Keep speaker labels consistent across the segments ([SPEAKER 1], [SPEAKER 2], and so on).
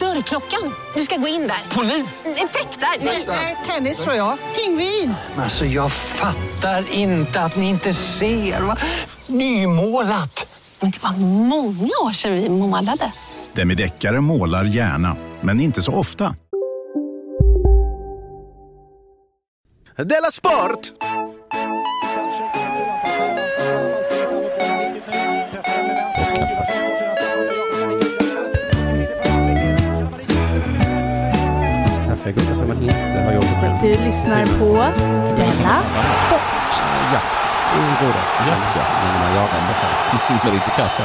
[SPEAKER 1] Dörrklockan. Du ska gå in där. Polis? Effektar? Nej, tennis tror jag. Pingvin.
[SPEAKER 2] Alltså jag fattar inte att ni inte ser. Va? Nymålat!
[SPEAKER 1] Men det var många år sedan vi målade.
[SPEAKER 3] Demideckare målar gärna, men inte så ofta.
[SPEAKER 4] Della Sport!
[SPEAKER 5] Kaffegubbar ska man inte ha jobb själv.
[SPEAKER 6] Du lyssnar på Della Sport.
[SPEAKER 5] Jakt är godast. Jakt, ja. Men man jagar ändå själv. Men inte kaffe.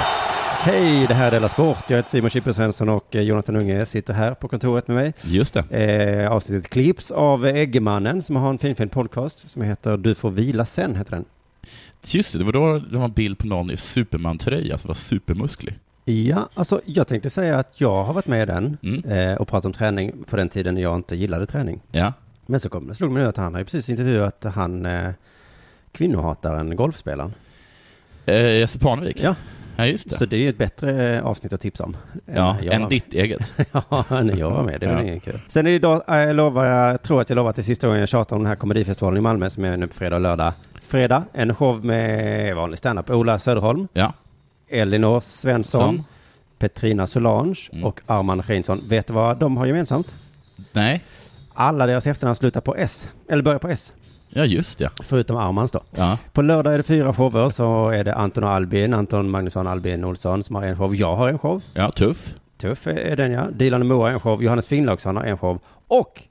[SPEAKER 5] Hej, det här är Della Sport. Jag heter Simon Chippen Svensson och eh, Jonathan Unge sitter här på kontoret med mig.
[SPEAKER 7] Just det.
[SPEAKER 5] Eh, avsnittet klipps av Eggemannen som har en finfin podcast som heter Du får vila sen, heter den.
[SPEAKER 7] Just det, det var då det var en bild på någon i Superman-tröja som var supermusklig.
[SPEAKER 5] Ja, alltså jag tänkte säga att jag har varit med i den
[SPEAKER 7] Mm.
[SPEAKER 5] eh, och pratat om träning på den tiden när jag inte gillade träning.
[SPEAKER 7] Ja.
[SPEAKER 5] Men så kom det, slog det mig nu att han har ju precis intervjuat han eh, kvinnohataren, golfspelaren.
[SPEAKER 7] Eh, Jesse Parnevik?
[SPEAKER 5] Ja,
[SPEAKER 7] ja, just det.
[SPEAKER 5] så det är ju ett bättre eh, avsnitt att tipsa om. än
[SPEAKER 7] ja,
[SPEAKER 5] när jag
[SPEAKER 7] än
[SPEAKER 5] var-
[SPEAKER 7] ditt eget.
[SPEAKER 5] Ja, när jag var med. Det var
[SPEAKER 7] Ja.
[SPEAKER 5] ingen kul. Sen är det idag, jag lovar, jag tror att jag lovar att det är sista gången jag tjatar om den här komedifestivalen i Malmö som är nu på fredag och lördag. Fredag, en show med vanlig standup. Ola Söderholm,
[SPEAKER 7] Ja.
[SPEAKER 5] Elinor Svensson,
[SPEAKER 7] Sån.
[SPEAKER 5] Petrina Solange
[SPEAKER 7] Mm.
[SPEAKER 5] och Arman Reinsson. Vet du vad de har gemensamt?
[SPEAKER 7] Nej.
[SPEAKER 5] Alla deras efternamn slutar på S, eller börjar på S,
[SPEAKER 7] Ja, just det.
[SPEAKER 5] förutom Armans då.
[SPEAKER 7] Ja.
[SPEAKER 5] På lördag är det fyra shower, så är det Anton och Albin, Anton Magnusson, Albin Olsson som har en show. Jag har en show.
[SPEAKER 7] ja, tuff.
[SPEAKER 5] Tuff är den ja. Dilan och Moa har en show, Johannes Finnlaugsson har en show och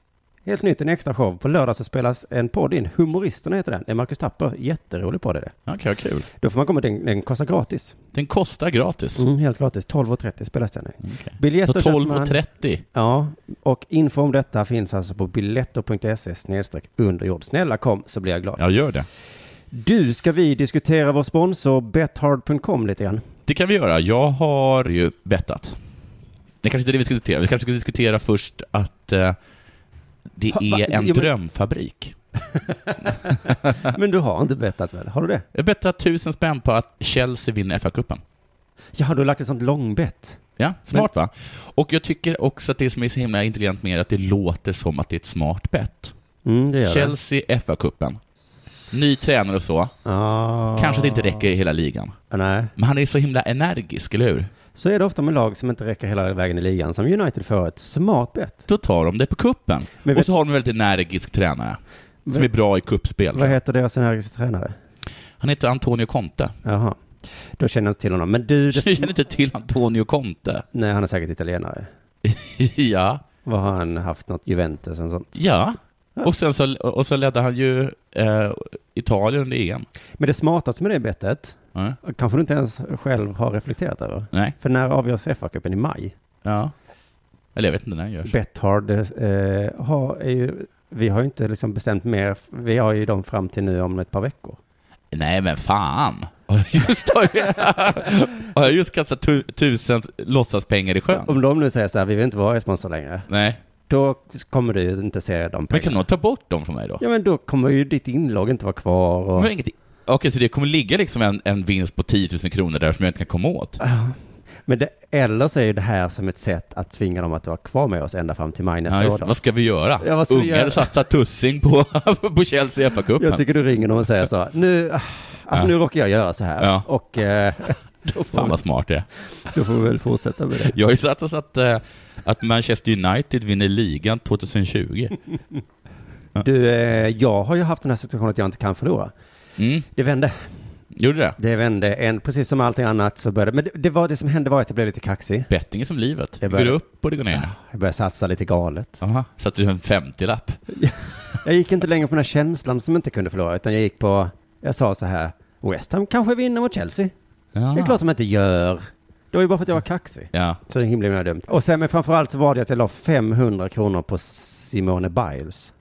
[SPEAKER 5] helt nytt en extra show. På lördag så spelas en podd in, Humoristerna heter den. Det är Marcus Tapper, jätterolig podd är det.
[SPEAKER 7] Ja, Okej, vad kul.
[SPEAKER 5] Då får man komma, den, den kostar gratis.
[SPEAKER 7] Den kostar gratis.
[SPEAKER 5] Mm, helt gratis, 12.30 spelas den i.
[SPEAKER 7] Okej. Så
[SPEAKER 5] Biljetter köper man-
[SPEAKER 7] 12.30.
[SPEAKER 5] Ja, och info om detta finns alltså på biletto.se snedstreck underjord. Snälla kom så blir jag glad.
[SPEAKER 7] Ja, gör det.
[SPEAKER 5] Du, ska vi diskutera vår sponsor bethard.com lite grann?
[SPEAKER 7] Det kan vi göra. Jag har ju bettat. Det kanske inte är det vi ska diskutera. Vi kanske ska diskutera först att eh, det
[SPEAKER 5] Ha, va?
[SPEAKER 7] är en
[SPEAKER 5] Jo, men-
[SPEAKER 7] drömfabrik.
[SPEAKER 5] Men du har inte bettat väl? Har du det?
[SPEAKER 7] Jag bettar tusen spänn på att Chelsea vinner FA-cupen.
[SPEAKER 5] Ja, du har lagt ett sånt långbett.
[SPEAKER 7] Ja, smart va? Och jag tycker också att det som är så himla intelligent med det är att det låter som att det är ett smart bett.
[SPEAKER 5] Mm, det gör det.
[SPEAKER 7] Chelsea, FA-cupen. Ny tränare och så.
[SPEAKER 5] Ja.
[SPEAKER 7] Kanske att det inte räcker i hela ligan.
[SPEAKER 5] Nej,
[SPEAKER 7] Men han är så himla energisk, eller hur?
[SPEAKER 5] så är det ofta med lag som inte räcker hela vägen i ligan, som United får ett smart bett.
[SPEAKER 7] Då tar de det på kuppen.
[SPEAKER 5] Men vet-
[SPEAKER 7] Och så har de en väldigt energisk tränare. Som är bra i kuppspel.
[SPEAKER 5] Vad heter deras energiska tränare?
[SPEAKER 7] Han heter Antonio Conte.
[SPEAKER 5] Jaha, då känner jag inte till honom. Men
[SPEAKER 7] Du
[SPEAKER 5] du, det...
[SPEAKER 7] känner inte till Antonio Conte?
[SPEAKER 5] Nej, han är säkert italienare.
[SPEAKER 7] ja.
[SPEAKER 5] Vad har han haft något Juventus och sånt?
[SPEAKER 7] Ja. Och sen så, och så ledde han ju eh, Italien under EM.
[SPEAKER 5] Men det smartaste med det bettet,
[SPEAKER 7] Ja.
[SPEAKER 5] kanske du inte ens själv har reflekterat över.
[SPEAKER 7] Nej.
[SPEAKER 5] För när avgörs FA-cupen? I maj?
[SPEAKER 7] Ja. Eller jag vet inte när han görs.
[SPEAKER 5] Betthard eh, har, är ju, vi har ju inte liksom bestämt mer, vi har ju dem fram till nu om ett par veckor.
[SPEAKER 7] Nej men fan. Har jag just, har jag, har jag just kastat tu, tusen låtsaspengar i sjön?
[SPEAKER 5] Om de nu säger så här, vi vill inte vara er sponsor längre,
[SPEAKER 7] Nej.
[SPEAKER 5] då kommer du ju inte se de
[SPEAKER 7] Men
[SPEAKER 5] pengarna.
[SPEAKER 7] kan någon ta bort dem från mig då?
[SPEAKER 5] Ja men då kommer ju ditt inlogg inte vara kvar och...
[SPEAKER 7] Men inget, okej, så det kommer ligga liksom en, en vinst på 10 000 kronor där som jag inte kan komma åt?
[SPEAKER 5] Men det, eller så är ju det här som ett sätt att tvinga dem att vara kvar med oss ända fram till maj
[SPEAKER 7] Ja,
[SPEAKER 5] nästa
[SPEAKER 7] just,
[SPEAKER 5] år.
[SPEAKER 7] det.
[SPEAKER 5] Då.
[SPEAKER 7] vad ska vi göra?
[SPEAKER 5] Ja, vad ska vi
[SPEAKER 7] Ungar
[SPEAKER 5] göra?
[SPEAKER 7] satsar tussing på, på Chelsea i FA-cupen.
[SPEAKER 5] Jag tycker du ringer dem och säger så, nu, ah, alltså nu råkar jag göra så här.
[SPEAKER 7] Ja.
[SPEAKER 5] Och eh, då,
[SPEAKER 7] Fan
[SPEAKER 5] får,
[SPEAKER 7] vad smart det är.
[SPEAKER 5] då får vi väl fortsätta med det.
[SPEAKER 7] Jag har ju satt oss att, eh, att Manchester United vinner ligan 2020.
[SPEAKER 5] Du, eh, jag har ju haft den här situationen att jag inte kan förlora.
[SPEAKER 7] Mm.
[SPEAKER 5] Det vände.
[SPEAKER 7] Gjorde det?
[SPEAKER 5] Det vände en, precis som allting annat så började, men det, det, var, det som hände var att jag blev lite kaxig.
[SPEAKER 7] Betting är som livet. Det
[SPEAKER 5] börjar-
[SPEAKER 7] går upp och det går ner.
[SPEAKER 5] Jag började satsa lite galet.
[SPEAKER 7] Aha. Så att du har en 50-lapp.
[SPEAKER 5] Jag gick inte längre på den här känslan som inte kunde förlora, utan jag gick på, jag sa så här, West Ham kanske vinner mot Chelsea.
[SPEAKER 7] Ah.
[SPEAKER 5] Det är klart de inte gör. Det var ju bara för att jag var kaxig.
[SPEAKER 7] Ja.
[SPEAKER 5] Så det är himla himla dumt. Och sen, men framförallt så var det att jag la 500 kronor på Simone Biles.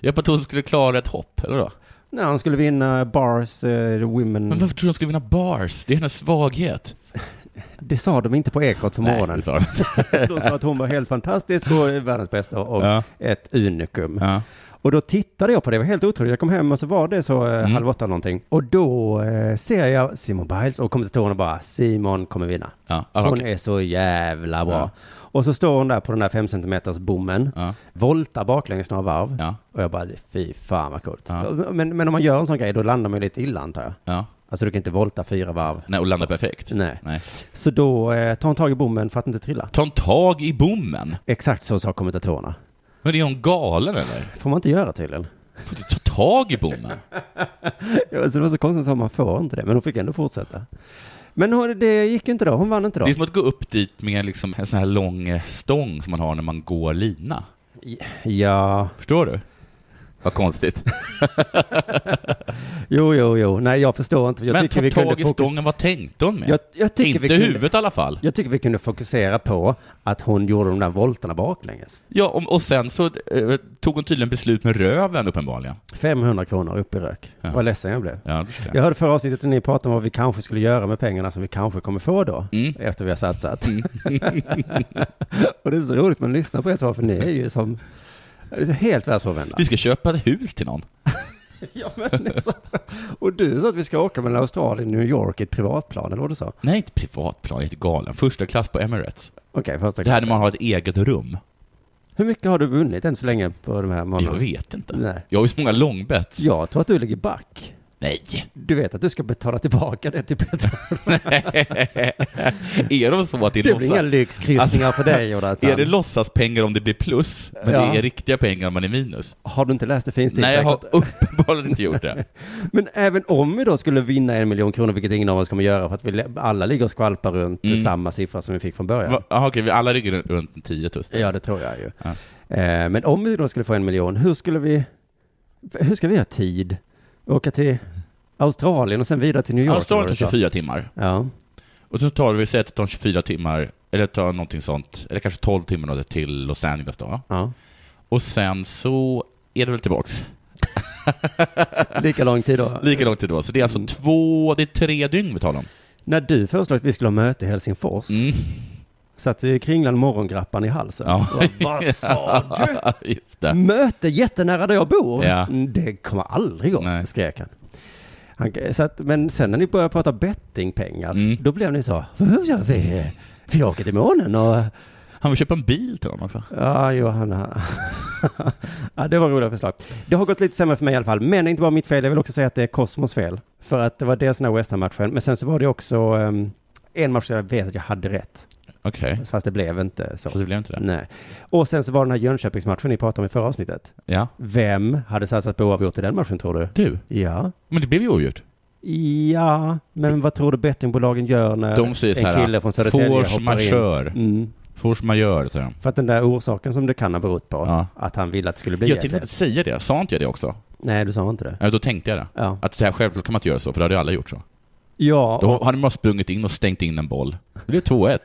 [SPEAKER 7] Jag bara trodde hon skulle klara ett hopp, eller då?
[SPEAKER 5] Mm. När hon skulle vinna Bars eh, Women.
[SPEAKER 7] Men varför tror du hon skulle vinna bars? Det är hennes svaghet.
[SPEAKER 5] Det sa de inte på Ekot på
[SPEAKER 7] Nej,
[SPEAKER 5] morgonen.
[SPEAKER 7] det sa du inte.
[SPEAKER 5] de sa att hon var helt fantastisk och världens bästa och
[SPEAKER 7] Ja.
[SPEAKER 5] ett unikum.
[SPEAKER 7] Ja.
[SPEAKER 5] Och då tittade jag på det, det var helt otroligt. Jag kom hem och så var det så
[SPEAKER 7] Mm.
[SPEAKER 5] eh, halv åtta någonting. Och då eh, ser jag Simon Biles och kommentatorerna bara, Simon kommer vinna.
[SPEAKER 7] Ja, ah,
[SPEAKER 5] Hon
[SPEAKER 7] okej.
[SPEAKER 5] är så jävla bra.
[SPEAKER 7] Ja.
[SPEAKER 5] Och så står hon där på den där fem centimeters bommen,
[SPEAKER 7] Ja.
[SPEAKER 5] voltar baklänges några varv.
[SPEAKER 7] Ja.
[SPEAKER 5] Och jag bara, fy fan vad coolt.
[SPEAKER 7] Ja.
[SPEAKER 5] Men, men om man gör en sån grej, då landar man ju lite illa antar jag.
[SPEAKER 7] Ja.
[SPEAKER 5] Alltså du kan inte volta fyra varv.
[SPEAKER 7] Nej, och landa perfekt.
[SPEAKER 5] Nej.
[SPEAKER 7] Nej.
[SPEAKER 5] Så då eh, tar hon tag i bommen för att inte trilla.
[SPEAKER 7] Ta en tag i bommen.
[SPEAKER 5] Exakt så sa kommentatorerna.
[SPEAKER 7] Men är hon galen eller?
[SPEAKER 5] Får man inte göra tydligen.
[SPEAKER 7] Får du ta tag i bommen?
[SPEAKER 5] Ja, alltså, det var så konstigt som man får inte det, men hon fick ändå fortsätta. Men hon, det gick ju inte då, hon vann inte då.
[SPEAKER 7] Det är som att gå upp dit med liksom en sån här lång eh, stång som man har när man går lina.
[SPEAKER 5] Ja,
[SPEAKER 7] Förstår du? Vad konstigt.
[SPEAKER 5] jo, jo, jo, nej jag förstår inte. Jag
[SPEAKER 7] Men
[SPEAKER 5] tycker
[SPEAKER 7] ta
[SPEAKER 5] vi kunde
[SPEAKER 7] tag i
[SPEAKER 5] fokus-
[SPEAKER 7] stången, vad tänkte hon med?
[SPEAKER 5] Jag, jag tycker
[SPEAKER 7] Inte
[SPEAKER 5] vi kunde,
[SPEAKER 7] huvudet i alla fall.
[SPEAKER 5] Jag tycker vi kunde fokusera på att hon gjorde de där volterna baklänges.
[SPEAKER 7] Ja, och, och sen så eh, tog hon tydligen beslut med röven uppenbarligen.
[SPEAKER 5] 500 kronor upp i rök.
[SPEAKER 7] Ja.
[SPEAKER 5] Vad ledsen jag blev.
[SPEAKER 7] Ja, det förstår
[SPEAKER 5] Jag
[SPEAKER 7] jag.
[SPEAKER 5] hörde förra avsnittet när ni pratade om vad vi kanske skulle göra med pengarna som vi kanske kommer få då,
[SPEAKER 7] Mm.
[SPEAKER 5] efter vi har satsat. och det är så roligt man lyssnar på er två, för ni är ju som helt världsfrånvända.
[SPEAKER 7] Vi ska köpa ett hus till någon.
[SPEAKER 5] ja, men det är så. Och du sa att vi ska åka mellan Australien och New York i ett privatplan, eller vad du sa?
[SPEAKER 7] Nej, inte privatplan, jag är galen. Första klass på Emirates.
[SPEAKER 5] Okej, första
[SPEAKER 7] Det här när
[SPEAKER 5] klass.
[SPEAKER 7] man har ett eget rum.
[SPEAKER 5] Hur mycket har du vunnit än så länge på de här
[SPEAKER 7] Jag
[SPEAKER 5] månaderna?
[SPEAKER 7] vet inte.
[SPEAKER 5] Nej.
[SPEAKER 7] Jag har ju så många långbett.
[SPEAKER 5] Jag tror att du ligger back.
[SPEAKER 7] Nej!
[SPEAKER 5] Du vet att du ska betala tillbaka det till Peter.
[SPEAKER 7] är de så att det är,
[SPEAKER 5] Det blir inga
[SPEAKER 7] låtsas,
[SPEAKER 5] lyxkryssningar för dig, Jonathan.
[SPEAKER 7] Alltså, är det låtsaspengar om det blir plus, men
[SPEAKER 5] Ja.
[SPEAKER 7] det är riktiga pengar om man är minus?
[SPEAKER 5] Har du inte läst det finstilta?
[SPEAKER 7] Nej, jag har uppenbarligen inte gjort det.
[SPEAKER 5] Men även om vi då skulle vinna en miljon kronor, vilket ingen av oss kommer göra, för att vi le- alla ligger och skvalpar runt
[SPEAKER 7] Mm.
[SPEAKER 5] samma siffra som vi fick från början.
[SPEAKER 7] Va- Aha, okej, vi alla ligger runt en 10 000.
[SPEAKER 5] Ja, det tror jag ju.
[SPEAKER 7] Ja.
[SPEAKER 5] Eh, men om vi då skulle få en miljon, hur skulle vi, hur ska vi ha tid? Åka till Australien och sen vidare till New York?
[SPEAKER 7] Australien tar
[SPEAKER 5] eller vad du
[SPEAKER 7] 24 timmar.
[SPEAKER 5] sa? Ja.
[SPEAKER 7] Och sen tar vi, säg att det tar 24 timmar, eller tar någonting sånt, eller kanske 12 timmar då till Los Angeles då.
[SPEAKER 5] ja.
[SPEAKER 7] Och sen så är det väl tillbaks.
[SPEAKER 5] Lika lång tid då.
[SPEAKER 7] Lika lång tid då. Så det är
[SPEAKER 5] Mm.
[SPEAKER 7] alltså två, det är tre dygn vi talar om.
[SPEAKER 5] När du föreslog att vi skulle ha möte i Helsingfors,
[SPEAKER 7] Mm.
[SPEAKER 5] satte ju kringlan morgongrappan i halsen.
[SPEAKER 7] Ja.
[SPEAKER 5] Och bara, Vad sa du?
[SPEAKER 7] Just
[SPEAKER 5] Mm.
[SPEAKER 7] det.
[SPEAKER 5] Möte jättenära där jag bor.
[SPEAKER 7] Ja.
[SPEAKER 5] Mm, Det kommer aldrig gå,
[SPEAKER 7] Nej.
[SPEAKER 5] skrek han. han så att, men sen när ni började prata bettingpengar,
[SPEAKER 7] Mm.
[SPEAKER 5] då blev ni så, "Hur gör vi? Vi åker till månen och...
[SPEAKER 7] Han vill köpa en bil till honom också.
[SPEAKER 5] Ja, Johanna. ja, det var roliga förslag. Det har gått lite sämre för mig i alla fall, men det är inte bara mitt fel. Jag vill också säga att det är Cosmos fel. För att det var dels den här West Ham-matchen, men sen så var det också ehm, en match där jag vet att jag hade rätt,
[SPEAKER 7] Okej.
[SPEAKER 5] fast det blev inte så.
[SPEAKER 7] Fast det blev inte det.
[SPEAKER 5] Nej. Och sen så var den här Jönköpingsmatchen ni pratade om i förra avsnittet.
[SPEAKER 7] Ja.
[SPEAKER 5] Vem hade satsat på oavgjort i den matchen tror du?
[SPEAKER 7] Du,
[SPEAKER 5] Ja.
[SPEAKER 7] men det blev ju oavgjort.
[SPEAKER 5] Ja, men vad tror du bettingbolagen gör när
[SPEAKER 7] De säger så
[SPEAKER 5] en
[SPEAKER 7] här,
[SPEAKER 5] kille från Södertälje
[SPEAKER 7] force
[SPEAKER 5] hoppar
[SPEAKER 7] majeure.
[SPEAKER 5] in? Mm.
[SPEAKER 7] Force majeure, säger de.
[SPEAKER 5] För att den där orsaken som det kan ha berott på,
[SPEAKER 7] Ja.
[SPEAKER 5] att han ville att det skulle bli
[SPEAKER 7] Jag
[SPEAKER 5] ett
[SPEAKER 7] tänkte inte
[SPEAKER 5] rätt.
[SPEAKER 7] säga det. Sa inte jag det också?
[SPEAKER 5] Nej, du sa inte det.
[SPEAKER 7] Ja, då tänkte jag det.
[SPEAKER 5] Ja.
[SPEAKER 7] Att det här självklart kan man inte göra så, för då hade ju alla gjort så.
[SPEAKER 5] Ja,
[SPEAKER 7] Då hade man bara sprungit in och stängt in en boll. Det blev 2-1.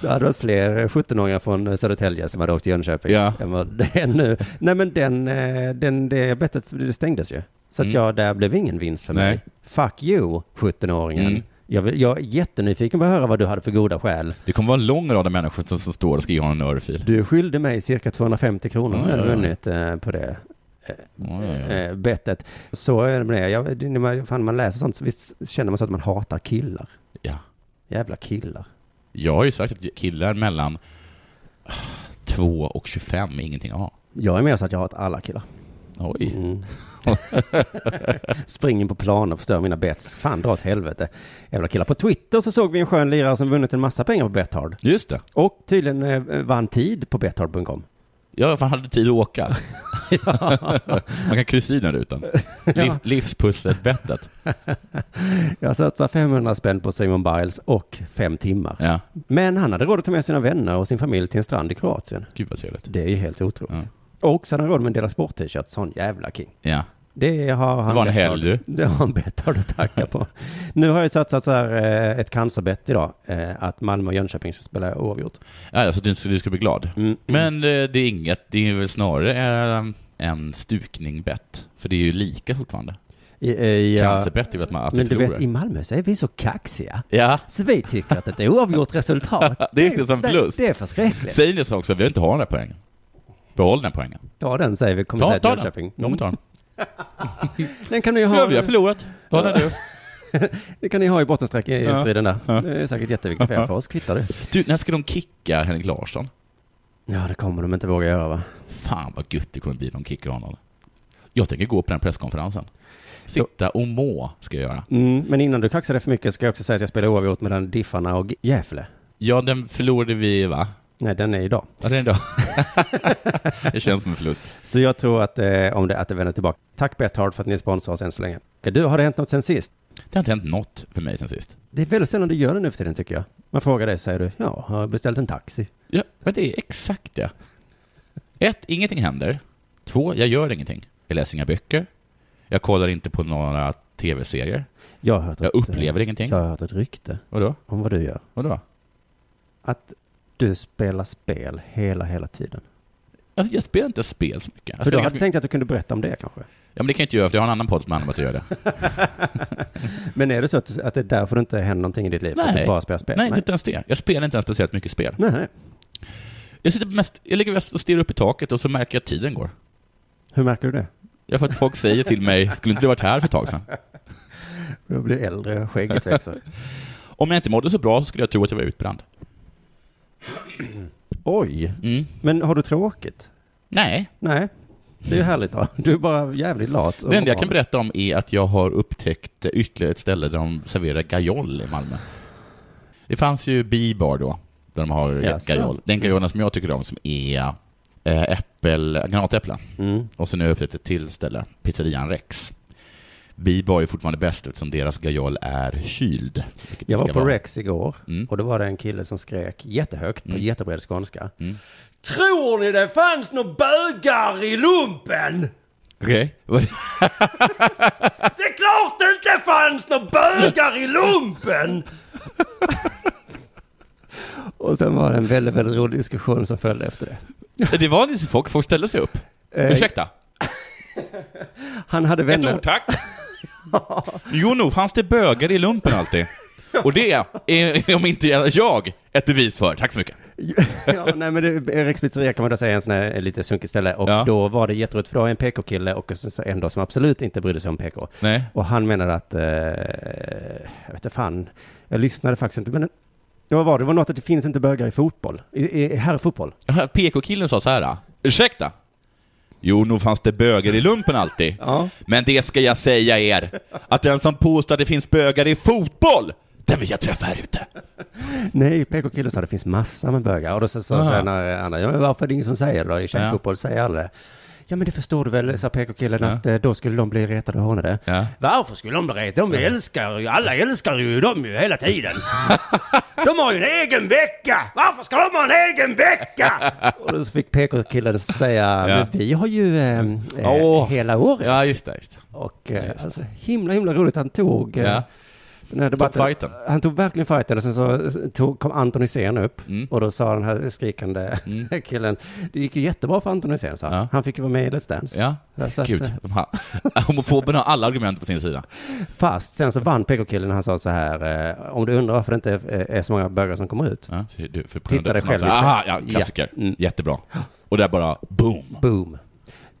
[SPEAKER 5] det hade varit fler 17-åringar från eh, Södertälje som hade åkt till Jönköping.
[SPEAKER 7] Ja.
[SPEAKER 5] än vad det är nu. Nej, men den, eh, den, det bettet det stängdes ju. Så att
[SPEAKER 7] Mm.
[SPEAKER 5] jag, där blev ingen vinst för mig.
[SPEAKER 7] Nej.
[SPEAKER 5] Fuck you, 17-åringen.
[SPEAKER 7] Mm.
[SPEAKER 5] Jag, vill, jag är jättenyfiken på att höra vad du hade för goda skäl.
[SPEAKER 7] Det kommer vara en lång rad av människor som, som står och ska ge honom en örfil.
[SPEAKER 5] Du skyllde mig cirka 250 kronor som
[SPEAKER 7] Ja,
[SPEAKER 5] jag hade
[SPEAKER 7] ja, ja.
[SPEAKER 5] vunnit eh, på det
[SPEAKER 7] Ja, ja, ja.
[SPEAKER 5] eh, bettet. Så är det med det. Jag, det- när man, fan, man läser sånt så visst känner man så att man hatar killar.
[SPEAKER 7] ja.
[SPEAKER 5] Jävla killar.
[SPEAKER 7] Jag har ju sagt att killar mellan 2 och 25 är ingenting att ha.
[SPEAKER 5] Jag är med så att jag hatar alla killar.
[SPEAKER 7] Oj.
[SPEAKER 5] Mm. Spring in på plan och förstör mina bets. Fan, dra åt helvete. Jävla killar. På Twitter så såg vi en skön lirare som vunnit en massa pengar på Bethard.
[SPEAKER 7] Just det.
[SPEAKER 5] Och tydligen eh, vann tid på Bethard.com.
[SPEAKER 7] Jag fan hade tid att åka. Man kan kryssa i den rutan. Liv, livspusslet bettet.
[SPEAKER 5] Jag satsar 500 spänn på Simon Biles och fem timmar.
[SPEAKER 7] Ja.
[SPEAKER 5] Men han hade råd att ta med sina vänner och sin familj till en strand i Kroatien.
[SPEAKER 7] Gud vad trevligt.
[SPEAKER 5] Det är ju helt otroligt. Och så hade han råd med en Dela Sport-t-shirt. Sån jävla king.
[SPEAKER 7] Ja.
[SPEAKER 5] Det har han
[SPEAKER 7] Det var en
[SPEAKER 5] bett
[SPEAKER 7] helg,
[SPEAKER 5] av-
[SPEAKER 7] du.
[SPEAKER 5] Det har han bett av att tacka på. nu har jag satsat så här, eh, ett cancerbett idag, eh, att Malmö och Jönköping ska spela oavgjort.
[SPEAKER 7] Ja, alltså, du, du ska bli glad.
[SPEAKER 5] Mm.
[SPEAKER 7] Men eh, det är inget, det är väl snarare eh, en stukning bett. För det är ju lika fortfarande.
[SPEAKER 5] I, eh, i, ja.
[SPEAKER 7] Cancerbett är väl att man alltid
[SPEAKER 5] Men du
[SPEAKER 7] förlorar.
[SPEAKER 5] vet, i Malmö så är vi så kaxiga.
[SPEAKER 7] Ja.
[SPEAKER 5] Så vi tycker att ett oavgjort resultat,
[SPEAKER 7] Det är inte som förlust.
[SPEAKER 5] Det, det är förskräckligt.
[SPEAKER 7] Säg det så också, vi vill inte ha den här poängen. Behåll den här poängen.
[SPEAKER 5] Ta den säger vi, kommer
[SPEAKER 7] Ta,
[SPEAKER 5] säga till
[SPEAKER 7] ta den.
[SPEAKER 5] Jönköping. Mm.
[SPEAKER 7] De tar den.
[SPEAKER 5] Den kan ni ju
[SPEAKER 7] Nu har vi
[SPEAKER 5] ha,
[SPEAKER 7] har förlorat. Ta den du.
[SPEAKER 5] det kan ni ha i bottenstreck i
[SPEAKER 7] Ja.
[SPEAKER 5] striden där.
[SPEAKER 7] Ja.
[SPEAKER 5] Det är säkert jätteviktigt för oss, kvittar det.
[SPEAKER 7] Du, när ska de kicka Henrik Larsson?
[SPEAKER 5] Ja, det kommer de inte våga göra va?
[SPEAKER 7] Fan vad gött det kommer bli när de kickar honom. Jag tänker gå på den presskonferensen. Sitta och må, ska jag göra.
[SPEAKER 5] Mm, men innan du kaxar det för mycket ska jag också säga att jag spelar oavgjort mellan Diffarna och Gävle.
[SPEAKER 7] Ja, den förlorade vi, va?
[SPEAKER 5] Nej, den är idag.
[SPEAKER 7] Ja, det är då. det känns som en förlust.
[SPEAKER 5] Så jag tror att, eh, om det, att det vänder tillbaka. Tack Betthard för att ni sponsrar oss än så länge. Eh, Du, har det hänt något sen sist?
[SPEAKER 7] Det har inte hänt något för mig sen sist.
[SPEAKER 5] Det är väldigt sällan du gör det nu för tiden tycker jag. Man frågar dig, säger du, ja, har jag beställt en taxi.
[SPEAKER 7] Ja, men det är exakt det. Ett, ingenting händer. Två, jag gör ingenting. Jag läser inga böcker. Jag kollar inte på några tv-serier.
[SPEAKER 5] Jag har hört
[SPEAKER 7] Jag
[SPEAKER 5] ett,
[SPEAKER 7] upplever ingenting.
[SPEAKER 5] Jag har hört ett rykte
[SPEAKER 7] Vadå?
[SPEAKER 5] om vad du gör.
[SPEAKER 7] Vadå?
[SPEAKER 5] Att du spelar spel hela, hela tiden.
[SPEAKER 7] Alltså, Jag, jag spelar inte spel så mycket. Jag
[SPEAKER 5] för
[SPEAKER 7] spelar
[SPEAKER 5] du hade
[SPEAKER 7] ganska mycket.
[SPEAKER 5] tänkt att du kunde berätta om det kanske.
[SPEAKER 7] Ja, men det kan jag inte göra, för jag har en annan podd som handlar om att jag gör det.
[SPEAKER 5] Men är det så att, du- att det är därför det inte händer någonting i ditt liv? För att du
[SPEAKER 7] Nej.
[SPEAKER 5] bara spelar spel?
[SPEAKER 7] Nej, inte ens det. Jag spelar inte ens speciellt mycket spel.
[SPEAKER 5] nej. nej.
[SPEAKER 7] Jag, sitter mest, jag ligger mest och stirrar upp i taket och så märker jag att tiden går.
[SPEAKER 5] Hur märker du det?
[SPEAKER 7] Jag får att folk säger till mig, skulle inte du varit här för ett tag sedan?
[SPEAKER 5] Jag blir äldre och skägget växer.
[SPEAKER 7] Om jag inte mådde så bra så skulle jag tro att jag var utbränd.
[SPEAKER 5] Oj!
[SPEAKER 7] Mm.
[SPEAKER 5] Men har du tråkigt?
[SPEAKER 7] Nej,
[SPEAKER 5] Nej. Det är ju härligt då. Du är bara jävligt lat. och
[SPEAKER 7] det enda jag
[SPEAKER 5] van.
[SPEAKER 7] kan berätta om är att jag har upptäckt ytterligare ett ställe där de serverar gajol i Malmö. Det fanns ju bibar då, där de har
[SPEAKER 5] Jaså.
[SPEAKER 7] gajol. Den gajolen som jag tycker om som är eh, äppel, granatäpple.
[SPEAKER 5] Mm.
[SPEAKER 7] Och sen har jag upptäckt ett till ställe, pizzerian Rex. Bibar är fortfarande bäst eftersom deras gajol är kyld. vilket
[SPEAKER 5] Jag var
[SPEAKER 7] ska
[SPEAKER 5] på
[SPEAKER 7] vara.
[SPEAKER 5] Rex igår
[SPEAKER 7] Mm.
[SPEAKER 5] och då var det en kille som skrek jättehögt på jättebred skånska.
[SPEAKER 7] Mm.
[SPEAKER 5] Tror ni det fanns några bögar i lumpen?
[SPEAKER 7] Okej, okay.
[SPEAKER 5] Det är klart det inte fanns några bögar i lumpen! och sen var det en väldigt, väldigt rolig diskussion som följde efter det.
[SPEAKER 7] det var lite folk, folk ställde sig upp.
[SPEAKER 5] Eh,
[SPEAKER 7] Ursäkta,
[SPEAKER 5] Han hade
[SPEAKER 7] ett
[SPEAKER 5] vänner.
[SPEAKER 7] ord tack. jo, nog fanns det bögar i lumpen alltid. Och det är, om inte jag, ett bevis för. Tack så mycket.
[SPEAKER 5] ja, nej men det, Rex pizzeria kan man då säga är en sån här eh, lite sunkig ställe. Och
[SPEAKER 7] Ja.
[SPEAKER 5] då var det jätteroligt, för då var en PK-kille och sen så en då som absolut inte brydde sig om PK.
[SPEAKER 7] Nej.
[SPEAKER 5] Och han menade att, eh, jag vet inte fan, jag lyssnade faktiskt inte, men det var, vad, det var något att det finns inte bögar i fotboll, i, i herrfotboll.
[SPEAKER 7] PK-killen sa så här, ursäkta. Jo, nog fanns det bögar i lumpen alltid.
[SPEAKER 5] Ja.
[SPEAKER 7] Men det ska jag säga er, att den som påstår att det finns bögar i fotboll, den vill jag träffa här ute.
[SPEAKER 5] Nej, PK-killen sa det finns massor med bögar. Och då så sa
[SPEAKER 7] Aha.
[SPEAKER 5] så här när andra, ja, men varför är det ingen som säger det då? I tjejfotboll säger alla det. Ja men det förstår du väl, sa PK-killen,
[SPEAKER 7] Ja.
[SPEAKER 5] att eh, då skulle de bli retade och hånade.
[SPEAKER 7] Ja.
[SPEAKER 5] Varför skulle de bli retade? De älskar ju, alla älskar ju dem ju hela tiden. de har ju en egen vecka! Varför ska de ha en egen vecka? och då så fick PK-killen säga,
[SPEAKER 7] Ja.
[SPEAKER 5] men vi har ju eh, eh,
[SPEAKER 7] Åh.
[SPEAKER 5] hela året.
[SPEAKER 7] Ja, just det. Just det.
[SPEAKER 5] Och eh, alltså, himla, himla roligt. Han tog eh,
[SPEAKER 7] Ja.
[SPEAKER 5] den här debatten.
[SPEAKER 7] Tog fighten.
[SPEAKER 5] Han tog verkligen fighten och sen så eh, tog, kom Anton Hysén upp
[SPEAKER 7] Mm.
[SPEAKER 5] och då sa den här skrikande killen, det gick ju jättebra för Anton Hysén, sa han.
[SPEAKER 7] Ja.
[SPEAKER 5] Han fick ju vara med i Let's Dance.
[SPEAKER 7] Ja,
[SPEAKER 5] Så att,
[SPEAKER 7] gud.
[SPEAKER 5] eh,
[SPEAKER 7] De här. Homofoberna har alla argument på sin sida.
[SPEAKER 5] Fast sen så vann PK-killen, han sa så här, eh, om du undrar varför det inte är, är så många bögar som kommer ut.
[SPEAKER 7] Ja, så du, för
[SPEAKER 5] Titta dig själv i
[SPEAKER 7] Aha, ja,
[SPEAKER 5] spegeln.
[SPEAKER 7] klassiker.
[SPEAKER 5] Ja. Mm.
[SPEAKER 7] Jättebra. Och där bara boom.
[SPEAKER 5] Boom.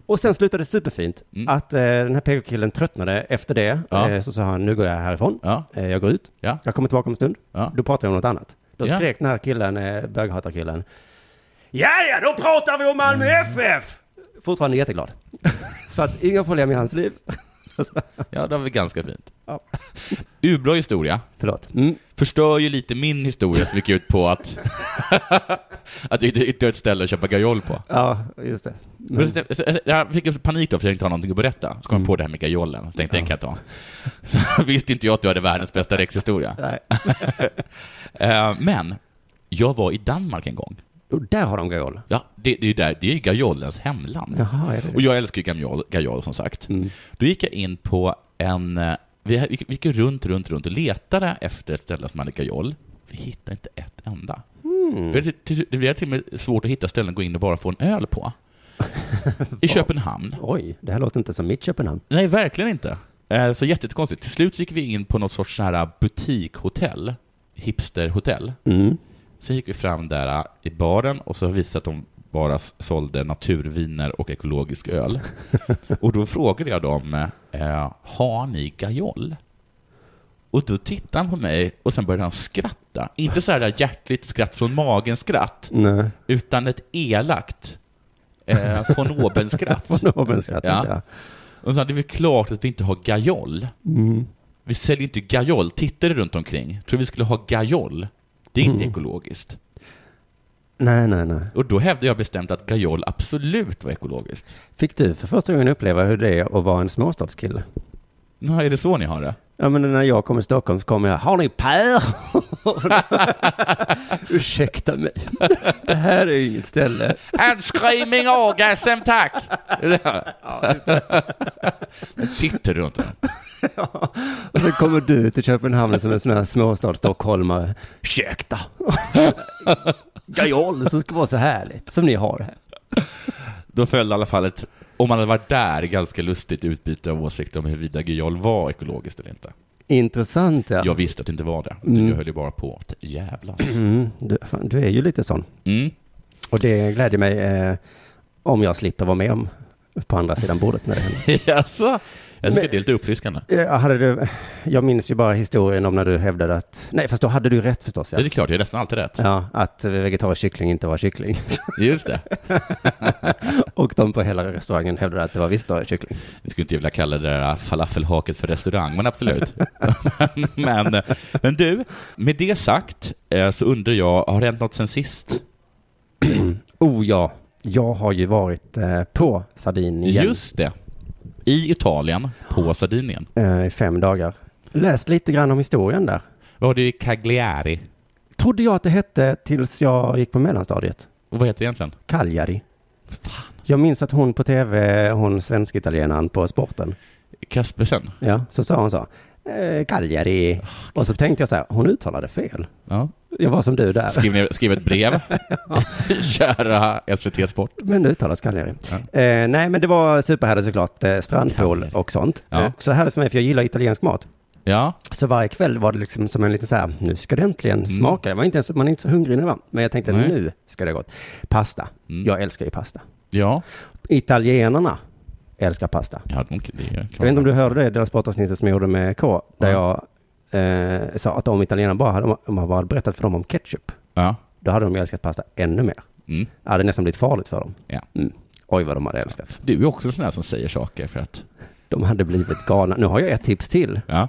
[SPEAKER 5] Och sen slutade det superfint
[SPEAKER 7] Mm.
[SPEAKER 5] att eh, den här PK-killen tröttnade efter det.
[SPEAKER 7] Ja.
[SPEAKER 5] Eh, så sa han, nu går jag härifrån.
[SPEAKER 7] Ja,
[SPEAKER 5] Eh, jag går ut.
[SPEAKER 7] ja,
[SPEAKER 5] Jag kommer tillbaka om en stund.
[SPEAKER 7] ja.
[SPEAKER 5] Då pratar jag om något annat. Då
[SPEAKER 7] Ja.
[SPEAKER 5] skrek den här killen, eh, böghatarkillen. Ja, ja, då pratar vi om Malmö
[SPEAKER 7] Mm.
[SPEAKER 5] FF! Fortfarande jätteglad. Så att inga problem i hans liv.
[SPEAKER 7] Ja, det var väl ganska fint.
[SPEAKER 5] Ja.
[SPEAKER 7] Urbra historia.
[SPEAKER 5] Förlåt. Mm.
[SPEAKER 7] förstör ju lite min historia som gick ut på att, att jag inte ytterligare ett ställe att köpa gajol på.
[SPEAKER 5] Ja, just det. Men-
[SPEAKER 7] Men. Jag fick panik då, för jag inte ha någonting att berätta. Så kom
[SPEAKER 5] Mm.
[SPEAKER 7] jag på det här med gajolen, så tänkte jag, den kan jag ta. Så visste inte jag att jag hade världens bästa räckshistoria.
[SPEAKER 5] Nej.
[SPEAKER 7] Eh, Men, jag var i Danmark en gång.
[SPEAKER 5] Och där har de gajol.
[SPEAKER 7] Ja, det, det är ju där, det är ju gajolens hemland.
[SPEAKER 5] Jaha, är det
[SPEAKER 7] Och
[SPEAKER 5] det?
[SPEAKER 7] jag älskar ju gajol, gajol som sagt. Då gick jag in på en... eh, Vi, vi gick ju runt, runt, runt och letade efter ett ställe som hade gajol. Vi hittade inte ett enda. Det, blev till- det blev till och med svårt att hitta ställen att gå in och bara få en öl på. I Köpenhamn.
[SPEAKER 5] Oj, det här låter inte som mitt Köpenhamn.
[SPEAKER 7] Nej, verkligen inte. Eh, Så jätte- jättekonstigt. Till slut gick vi in på något sorts sån här butikhotell, hipsterhotell.
[SPEAKER 5] Mm.
[SPEAKER 7] Sen gick vi fram där eh, i baren och så visade att de bara s- sålde naturviner och ekologisk öl. och då frågade jag dem, eh, har ni gajol? Och då tittade han på mig och sen började han skratta. Inte så här där hjärtligt skratt från magen-skratt,
[SPEAKER 5] Nej,
[SPEAKER 7] utan ett elakt eh, von oben-skratt.
[SPEAKER 5] från Åbenskratt.
[SPEAKER 7] Ja.
[SPEAKER 5] Ja.
[SPEAKER 7] Och så hade vi klart att vi inte har gajol. Vi säljer inte gajol. Tittade runt omkring. Tror vi skulle ha gajol. Det är inte ekologiskt.
[SPEAKER 5] Nej, nej, nej.
[SPEAKER 7] Och då hävdade jag bestämt att gajol absolut var ekologiskt.
[SPEAKER 5] Fick du för första gången uppleva hur det är att vara en småstadskille?
[SPEAKER 7] Nå, är det så ni har det?
[SPEAKER 5] Ja, men när jag kom i Stockholm så kom jag, har ni päron? Ursäkta mig, det här är ju inget ställe.
[SPEAKER 7] And screaming orgasm, tack! Titta runt.
[SPEAKER 5] Och så kommer du till Köpenhamn som en sån här småstadsstockholmare. Ursäkta! Gajol, som ska vara så härligt, som ni har här.
[SPEAKER 7] Då följde i alla fall ett, om man hade varit där, ganska lustigt utbyte av åsikter om huruvida gajol var ekologiskt eller inte.
[SPEAKER 5] Intressant ja.
[SPEAKER 7] Jag visste att det inte var det. Jag höll ju bara på att jävlas.
[SPEAKER 5] Mm, du, fan, du är ju lite sån.
[SPEAKER 7] Mm.
[SPEAKER 5] Och det glädjer mig eh, om jag slipper vara med om på andra sidan bordet när det händer.
[SPEAKER 7] Jaså? Jag tycker
[SPEAKER 5] Men-
[SPEAKER 7] det är lite uppfriskande.
[SPEAKER 5] Jag, hade du, jag minns ju bara historien om när du hävdade att, nej fast då hade du rätt förstås
[SPEAKER 7] Ja. Det
[SPEAKER 5] ja.
[SPEAKER 7] är klart, jag är nästan alltid rätt.
[SPEAKER 5] Ja, att vegetarisk kyckling inte var kyckling.
[SPEAKER 7] Just det.
[SPEAKER 5] Och de på hela restaurangen hävdade att det var visst var kyckling.
[SPEAKER 7] Jag skulle inte vilja kalla det där falafelhaket för restaurang, men absolut. men, men du, med det sagt eh, så undrar jag, har det hänt något sen sist?
[SPEAKER 5] Oh ja, jag har ju varit eh, på Sardinien igen,
[SPEAKER 7] Just det. I Italien, på Sardinien.
[SPEAKER 5] eh, i fem dagar. Läst lite grann om historien där.
[SPEAKER 7] Var du i Cagliari?
[SPEAKER 5] Trodde jag att det hette tills jag gick på mellanstadiet.
[SPEAKER 7] Och vad heter det egentligen?
[SPEAKER 5] Cagliari. Jag minns att hon på tv, hon svensk-italienaren på sporten,
[SPEAKER 7] Kaspersen?
[SPEAKER 5] ja, så sa hon så. Eh, Cagliari. Och så tänkte jag så här, hon uttalade fel.
[SPEAKER 7] Ja.
[SPEAKER 5] Jag var som du där.
[SPEAKER 7] Skriv, ner- skriv ett brev. Kära SVT Sport.
[SPEAKER 5] Men det uttalas Cagliari.
[SPEAKER 7] Ja.
[SPEAKER 5] Eh, nej, men det var superhärligt såklart. Eh, strandpool
[SPEAKER 7] Cagliari.
[SPEAKER 5] och sånt.
[SPEAKER 7] Ja.
[SPEAKER 5] Eh, så härligt för mig, för jag gillar italiensk mat.
[SPEAKER 7] Ja,
[SPEAKER 5] Så varje kväll var det liksom som en liten så här, nu ska det äntligen smaka. Jag var inte ens, man är inte så hungrig nu va? Men jag tänkte,
[SPEAKER 7] Mm. Nej.
[SPEAKER 5] nu ska det gott. Pasta.
[SPEAKER 7] Mm.
[SPEAKER 5] Jag älskar ju pasta.
[SPEAKER 7] ja.
[SPEAKER 5] Italienarna älskar pasta.
[SPEAKER 7] ja de, det är
[SPEAKER 5] Jag vet inte om du hörde det deras sportavsnittet som jag gjorde med K, där jag eh, sa att de italienarna bara hade, om man bara hade berättat för dem om ketchup,
[SPEAKER 7] Ja.
[SPEAKER 5] då hade de ju älskat pasta ännu mer.
[SPEAKER 7] Mm.
[SPEAKER 5] Det hade nästan blivit farligt för dem.
[SPEAKER 7] Ja.
[SPEAKER 5] Mm. Oj, vad de hade älskat.
[SPEAKER 7] Du är också en sån här som säger saker för att...
[SPEAKER 5] De hade blivit galna. Nu har jag ett tips till,
[SPEAKER 7] Ja.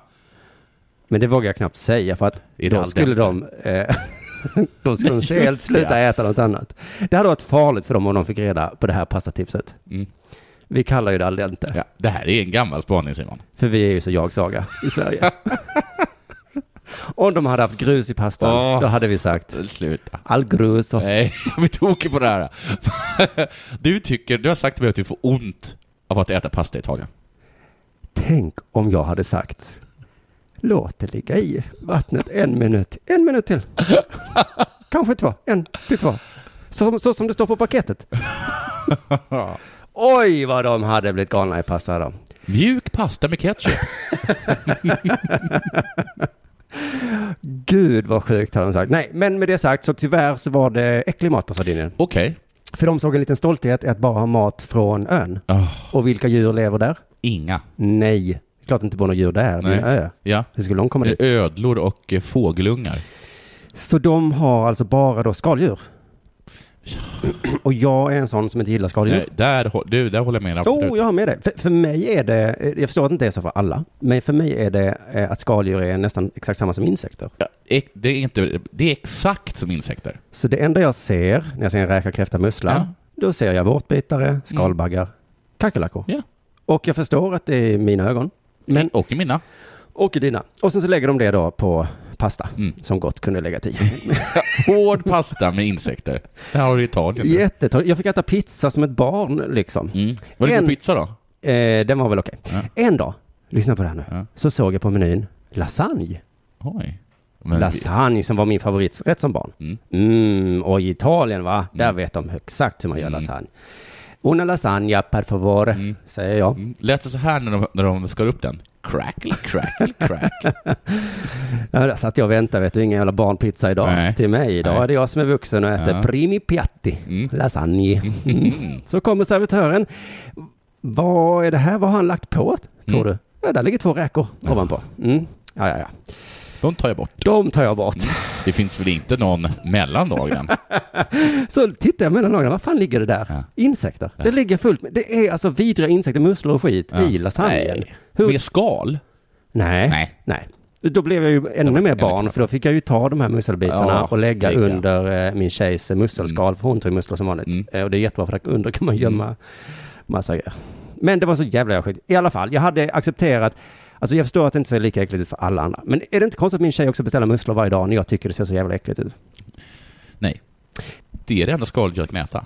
[SPEAKER 5] men det vågar jag knappt säga för att
[SPEAKER 7] Är det
[SPEAKER 5] då
[SPEAKER 7] al
[SPEAKER 5] skulle de... Eh, då skulle de
[SPEAKER 7] Nej,
[SPEAKER 5] helt
[SPEAKER 7] just det.
[SPEAKER 5] sluta äta något annat. Det hade varit farligt för dem om de fick reda på det här pastatipset.
[SPEAKER 7] Mm.
[SPEAKER 5] Vi kallar ju det al dente,
[SPEAKER 7] Ja, det här är en gammal spaning Simon.
[SPEAKER 5] för vi är ju så jag-saga i Sverige. om de hade haft grus i pastan,
[SPEAKER 7] Åh.
[SPEAKER 5] då hade vi sagt
[SPEAKER 7] Sluta.
[SPEAKER 5] All grus och...
[SPEAKER 7] Nej, jag blir tokig på det här. Du tycker, du har sagt till mig att du får ont av att äta pasta i Italien.
[SPEAKER 5] Tänk om jag hade sagt Låt det ligga i vattnet en minut, en minut till. Kanske två, en till två. Så, så som det står på paketet. Oj, vad de hade blivit galna i pasta då.
[SPEAKER 7] Mjuk pasta med ketchup.
[SPEAKER 5] Gud vad sjukt hade de sagt. Nej, men med det sagt så tyvärr så var det äcklig mat på Sardinien.
[SPEAKER 7] Okej.
[SPEAKER 5] För de såg en liten stolthet i att bara ha mat från ön.
[SPEAKER 7] Ah,
[SPEAKER 5] Och vilka djur lever där?
[SPEAKER 7] inga.
[SPEAKER 5] Nej, klart det inte bor några djur där. Det är en
[SPEAKER 7] Nej.
[SPEAKER 5] ö.
[SPEAKER 7] Ja.
[SPEAKER 5] Hur skulle de komma
[SPEAKER 7] Det
[SPEAKER 5] dit?
[SPEAKER 7] är ödlor och eh, fågelungar.
[SPEAKER 5] Så de har alltså bara då skaldjur? Och jag är en sån som inte gillar skaldjur.
[SPEAKER 7] Nej, där, hå- du, där håller jag med dig, absolut.
[SPEAKER 5] Oh, jag har med det. För, för mig är det, eh, jag förstår att det inte är så för alla, men för mig är det eh, att skaldjur är nästan exakt samma som insekter.
[SPEAKER 7] Ja, ek- det, är inte, det är exakt som insekter.
[SPEAKER 5] Så det enda jag ser när jag ser en räka, kräfta, mussla,
[SPEAKER 7] Ja. Mm.
[SPEAKER 5] då ser jag vårtbitare, skalbaggar, kackerlackor.
[SPEAKER 7] Ja. Mm.
[SPEAKER 5] Och jag förstår att det är mina ögon. Men,
[SPEAKER 7] Och i mina.
[SPEAKER 5] och i dina. Och sen så lägger de det då på pasta,
[SPEAKER 7] Mm.
[SPEAKER 5] som gott kunde lägga till.
[SPEAKER 7] Hård pasta med insekter. Det här har du i Italien.
[SPEAKER 5] Jättetorrt. Jag fick äta pizza som ett barn, liksom.
[SPEAKER 7] Mm. Var det
[SPEAKER 5] En-
[SPEAKER 7] god pizza då?
[SPEAKER 5] Eh, den var väl okej.
[SPEAKER 7] Ja.
[SPEAKER 5] En dag, lyssna på det här nu,
[SPEAKER 7] Ja.
[SPEAKER 5] så såg jag på menyn lasagne.
[SPEAKER 7] Oj. Men
[SPEAKER 5] Lasagne som var min favorit rätt som barn.
[SPEAKER 7] Mm.
[SPEAKER 5] Mm. och i Italien va, där vet de exakt hur man gör
[SPEAKER 7] Mm.
[SPEAKER 5] lasagne. Una lasagna per favore,
[SPEAKER 7] Mm.
[SPEAKER 5] säger jag.
[SPEAKER 7] Mm. Lät det så här när de, när de skar upp den? Crackle, crackle, crack.
[SPEAKER 5] Ja, där satt jag och väntade, vet du, ingen jävla barnpizza idag
[SPEAKER 7] Nej.
[SPEAKER 5] till mig. Idag
[SPEAKER 7] Nej.
[SPEAKER 5] är det jag som är vuxen och äter
[SPEAKER 7] Ja.
[SPEAKER 5] primi piatti,
[SPEAKER 7] Mm.
[SPEAKER 5] lasagne.
[SPEAKER 7] Mm.
[SPEAKER 5] Så kommer servitören. Vad är det här? Vad har han lagt på, tror
[SPEAKER 7] Mm.
[SPEAKER 5] du? Ja, där ligger två räkor
[SPEAKER 7] Ja.
[SPEAKER 5] ovanpå. Mm. Ja, ja, ja.
[SPEAKER 7] De tar jag bort.
[SPEAKER 5] De tar jag bort.
[SPEAKER 7] Det finns väl inte någon mellan dagen?
[SPEAKER 5] Så tittar jag mellan lagarna, vad fan ligger det där?
[SPEAKER 7] Ja.
[SPEAKER 5] Insekter. Det ligger fullt med, det är alltså vidriga insekter, musslor och skit
[SPEAKER 7] Ja.
[SPEAKER 5] i lasagnen.
[SPEAKER 7] Nej.
[SPEAKER 5] Hur-
[SPEAKER 7] Med skal?
[SPEAKER 5] Nej. Nej.
[SPEAKER 7] Nej.
[SPEAKER 5] Då blev jag ju ännu
[SPEAKER 7] var-
[SPEAKER 5] mer
[SPEAKER 7] jag var
[SPEAKER 5] barn,
[SPEAKER 7] klar.
[SPEAKER 5] för då fick jag ju ta de här musselbitarna
[SPEAKER 7] Ja,
[SPEAKER 5] och lägga
[SPEAKER 7] lägga.
[SPEAKER 5] under eh, min tjejs musselskal, för hon tog musslor som vanligt.
[SPEAKER 7] Mm.
[SPEAKER 5] Eh, och det är jättebra, för där under kan man gömma massa grejer. Men det var så jävla skit. I alla fall, jag hade accepterat Alltså jag förstår att det inte ser lika äckligt ut för alla andra. Men är det inte konstigt att min tjej också beställer musslor varje dag när jag tycker det ser så jävla äckligt ut?
[SPEAKER 7] Nej. Det är det enda skaldjur jag kan äta.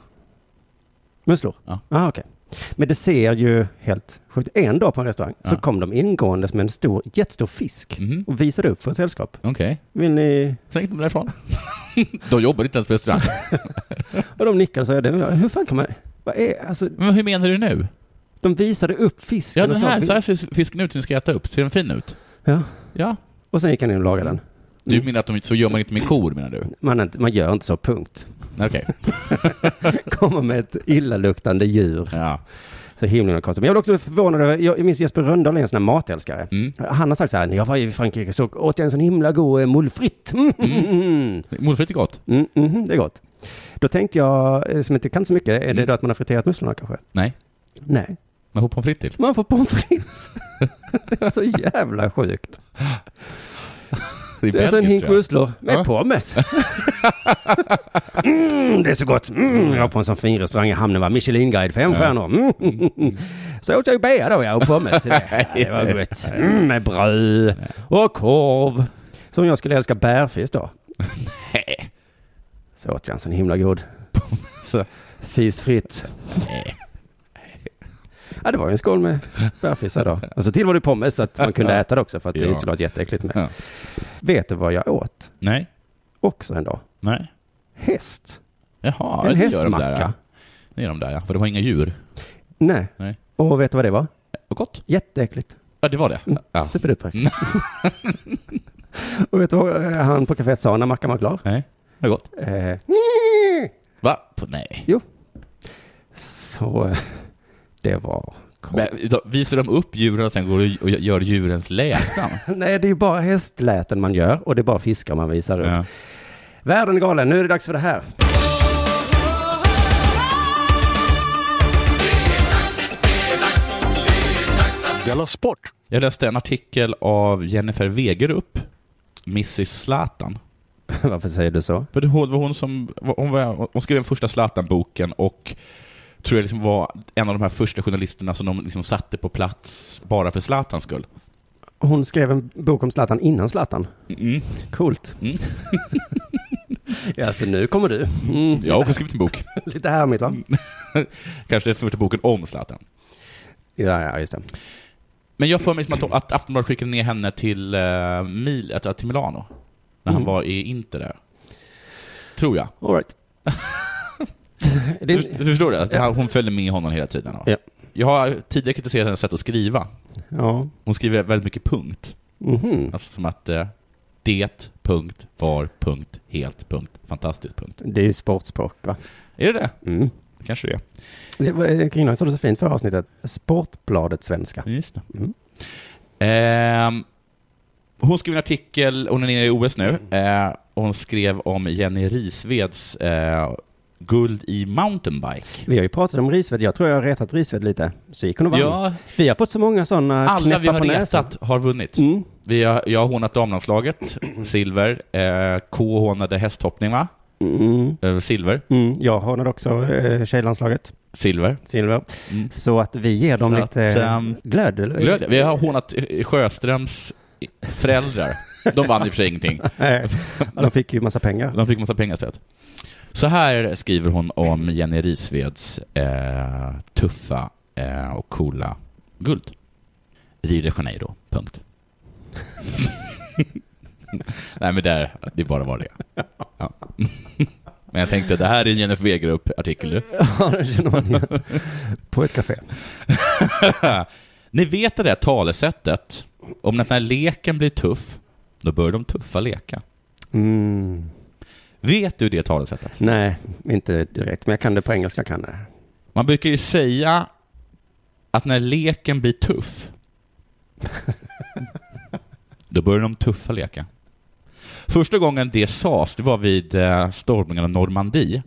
[SPEAKER 5] Musslor?
[SPEAKER 7] Ja.
[SPEAKER 5] Ah, okej. Men det ser ju helt sjukt. En dag på en restaurang så
[SPEAKER 7] Ja.
[SPEAKER 5] kom de ingåendes med en stor, jättestor fisk
[SPEAKER 7] Mhm.
[SPEAKER 5] och visade upp för ett sällskap.
[SPEAKER 7] Okej.
[SPEAKER 5] Vill ni?
[SPEAKER 7] Sen gick de därifrån. de jobbar inte ens på restaurang.
[SPEAKER 5] Och de nickade och sa, "Ja, det vill jag." hur fan kan man? Vad är, alltså,
[SPEAKER 7] Men hur menar du nu?
[SPEAKER 5] de visade upp fisken
[SPEAKER 7] Ja, den
[SPEAKER 5] och sa,
[SPEAKER 7] här,
[SPEAKER 5] "Vill-"
[SPEAKER 7] så här ser fisken ut som vi ska äta upp. Ser den fin ut?
[SPEAKER 5] Ja.
[SPEAKER 7] Ja.
[SPEAKER 5] Och sen gick han in och lagade den.
[SPEAKER 7] Du
[SPEAKER 5] Mm.
[SPEAKER 7] menar att de, så gör man inte med kor, menar du?
[SPEAKER 5] Man, är inte- man gör inte så, punkt.
[SPEAKER 7] Okej.
[SPEAKER 5] Kommer med ett illaluktande djur.
[SPEAKER 7] Ja.
[SPEAKER 5] Så himla konstigt. Men jag blev också förvånad över, jag minns Jesper Rönndahl är en sån här matälskare.
[SPEAKER 7] Mm.
[SPEAKER 5] Han har sagt så här, när jag var i Frankrike så åt jag en sån himla god eh, moules frites. Mm, mm. mm.
[SPEAKER 7] Morfritt är gott.
[SPEAKER 5] Mm, mhm, det är gott. Då tänkte jag, eh, som inte kan så mycket, är det då att man har friterat musslorna kanske?
[SPEAKER 7] Nej.
[SPEAKER 5] Nej,
[SPEAKER 7] Men hon pommes frites till.
[SPEAKER 5] man får pommes frites. det är så jävla sjukt.
[SPEAKER 7] Det är
[SPEAKER 5] Det är alltså en
[SPEAKER 7] belgiskt,
[SPEAKER 5] hink
[SPEAKER 7] tror jag.
[SPEAKER 5] musslor med
[SPEAKER 7] Ja.
[SPEAKER 5] pommes. mm, det är så gott. Mm, jag var på en sån fin restaurang i hamnen, var Michelin-guide, fem stjärnor. Mm. Så åt jag ju bea då, ja, och pommes. till Det Det var gott. Mm, med bröd och korv. Som jag skulle älska bärfis då.
[SPEAKER 7] Nej.
[SPEAKER 5] Så åt jag en sån himla god.
[SPEAKER 7] Så-
[SPEAKER 5] Fisfritt. Ja, det var ju en skål med bärfisar då. Och så till var det pommes så att man kunde äta det också för att det är
[SPEAKER 7] Ja.
[SPEAKER 5] ju såklart jätteäckligt med.
[SPEAKER 7] Ja.
[SPEAKER 5] Vet du vad jag åt
[SPEAKER 7] Nej.
[SPEAKER 5] också en dag?
[SPEAKER 7] Nej.
[SPEAKER 5] Häst.
[SPEAKER 7] Jaha,
[SPEAKER 5] en
[SPEAKER 7] det gör de där.
[SPEAKER 5] hästmacka.
[SPEAKER 7] ja. Det gör de där, ja. För de har inga djur.
[SPEAKER 5] Nej.
[SPEAKER 7] Nej.
[SPEAKER 5] Och vet du vad det var?
[SPEAKER 7] Och gott.
[SPEAKER 5] Jätteäckligt.
[SPEAKER 7] Ja, det var det. Ja.
[SPEAKER 5] Superduper.
[SPEAKER 7] Mm.
[SPEAKER 5] Och vet du vad eh, han på kaféet sa när mackan var klar?
[SPEAKER 7] Nej. Det var gott.
[SPEAKER 5] Eh,
[SPEAKER 7] Va? På- Nej.
[SPEAKER 5] så eh, det var kort.
[SPEAKER 7] Men, då visar de upp djuren och sen går och- och gör djurens lätan?
[SPEAKER 5] Nej, det är ju bara hästläten man gör och det är bara fiskar man visar upp.
[SPEAKER 7] ja.
[SPEAKER 5] Världen är galen, nu är det dags för det här.
[SPEAKER 4] Della Sport!
[SPEAKER 7] Jag läste en artikel av Jennifer Wegerup, Mrs Zlatan.
[SPEAKER 5] Varför säger du så?
[SPEAKER 7] För det var hon som hon, var, hon skrev den första Zlatan-boken och tror jag liksom var en av de här första journalisterna som de liksom satte på plats bara för Zlatans skull.
[SPEAKER 5] Hon skrev en bok om Zlatan innan Zlatan.
[SPEAKER 7] Mm.
[SPEAKER 5] Coolt.
[SPEAKER 7] Mm.
[SPEAKER 5] ja, alltså nu kommer du. Mm.
[SPEAKER 7] Jag har också skrivit en bok,
[SPEAKER 5] Lite härmigt va?
[SPEAKER 7] kanske den första boken om Zlatan.
[SPEAKER 5] Ja, ja, just det.
[SPEAKER 7] Men jag får mig liksom att, de- att Aftonbladet skickade ner henne till, eh, Mil, att- att- till Milano, när
[SPEAKER 5] Mm.
[SPEAKER 7] han var i Inter där. Tror jag.
[SPEAKER 5] All right. det
[SPEAKER 7] Du, du förstår det? Att han- Hon följer med honom hela tiden. va?
[SPEAKER 5] Ja.
[SPEAKER 7] Jag har tidigare kritiserat hennes sätt att skriva.
[SPEAKER 5] ja.
[SPEAKER 7] Hon skriver väldigt mycket punkt.
[SPEAKER 5] Mhm.
[SPEAKER 7] Alltså som att eh, det, punkt, var, punkt, helt, punkt, fantastiskt, punkt.
[SPEAKER 5] Det är ju sportspråk va?
[SPEAKER 7] Är det det?
[SPEAKER 5] Mm.
[SPEAKER 7] kanske det är.
[SPEAKER 5] Det var, eh, Kringlan sa det så fint förra avsnittet. Sportbladet svenska.
[SPEAKER 7] Just det.
[SPEAKER 5] Mm.
[SPEAKER 7] Ehm, hon skrev en
[SPEAKER 5] Mm.
[SPEAKER 7] artikel, hon är nere i OS nu, eh, och hon skrev om Jenny Risveds eh, guld i mountainbike.
[SPEAKER 5] Vi har ju pratat om Risved. Jag tror jag har retat Risved lite. Så gick hon och vann.
[SPEAKER 7] Ja.
[SPEAKER 5] Vi har fått så många sådana
[SPEAKER 7] Alla vi
[SPEAKER 5] knäppar
[SPEAKER 7] har
[SPEAKER 5] på näsan.
[SPEAKER 7] retat har vunnit.
[SPEAKER 5] Mm.
[SPEAKER 7] Vi har, jag har hånat damlandslaget, silver. Eh, K hånade hästhoppning, va?
[SPEAKER 5] Mm.
[SPEAKER 7] Eh, silver.
[SPEAKER 5] Mm. Jag hånade också eh, tjejlandslaget,
[SPEAKER 7] Silver.
[SPEAKER 5] silver.
[SPEAKER 7] Mm.
[SPEAKER 5] Så att vi ger dem
[SPEAKER 7] Så
[SPEAKER 5] lite
[SPEAKER 7] att,
[SPEAKER 5] eh,
[SPEAKER 7] ehm,
[SPEAKER 5] glöd. eller?
[SPEAKER 7] Glöd. Vi har hånat eh, Sjöströms föräldrar. De vann i och för sig ingenting.
[SPEAKER 5] Nej, de fick ju massa pengar.
[SPEAKER 7] De fick massa pengar istället. Så här skriver hon om Jenny Risveds eh, tuffa eh, och coola guld. Rio de Janeiro, punkt. Nej men där, det bara var det. Ja. men jag tänkte, det här är en Jennifer Wegerup-artikel nu.
[SPEAKER 5] Ja, det känner man igen. På ett café.
[SPEAKER 7] Ni vet det där talesättet, om att när leken blir tuff, då börjar de tuffa leka.
[SPEAKER 5] Mm.
[SPEAKER 7] Vet du det talesättet?
[SPEAKER 5] Nej, inte direkt. Men jag kan det på engelska. Kan det.
[SPEAKER 7] Man brukar ju säga att när leken blir tuff, då börjar de tuffa leka. Första gången det sades, det var vid eh, stormningen av Normandie.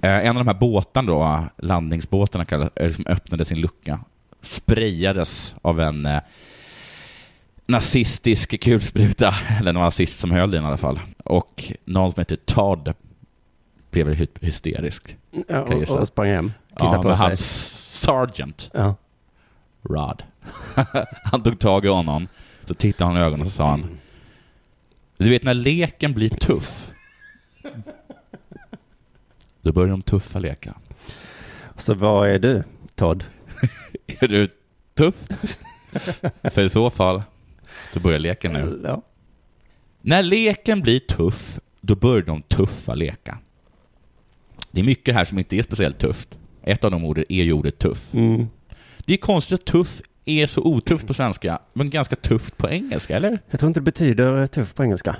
[SPEAKER 7] Eh, En av de här båtarna, då, landningsbåtarna, kallades- eh, liksom öppnade sin lucka. Sprayades av en eh, nazistisk kulspruta, eller någon nazist som höll i den i alla fall. Och någon som heter Todd blev hy- hysterisk.
[SPEAKER 5] Ja,
[SPEAKER 7] Kan jag
[SPEAKER 5] och,
[SPEAKER 7] gissa.
[SPEAKER 5] och sprang hem. Kissa
[SPEAKER 7] ja,
[SPEAKER 5] på
[SPEAKER 7] men
[SPEAKER 5] sig.
[SPEAKER 7] hans sergeant,
[SPEAKER 5] Ja.
[SPEAKER 7] Rod, han tog tag i honom, så tittade han i ögonen och så sa han Du vet när leken blir tuff, då börjar de tuffa leka.
[SPEAKER 5] Så vad är du, Todd?
[SPEAKER 7] Är du tuff? För i så fall, då börjar leken nu.
[SPEAKER 5] Ja.
[SPEAKER 7] När leken blir tuff, då börjar de tuffa leka. Det är mycket här som inte är speciellt tufft. Ett av de orden är ju ordet tuff.
[SPEAKER 5] Mm.
[SPEAKER 7] Det är konstigt att tuff är så otufft på svenska, men ganska tufft på engelska, eller?
[SPEAKER 5] Jag tror inte det betyder tuff på engelska.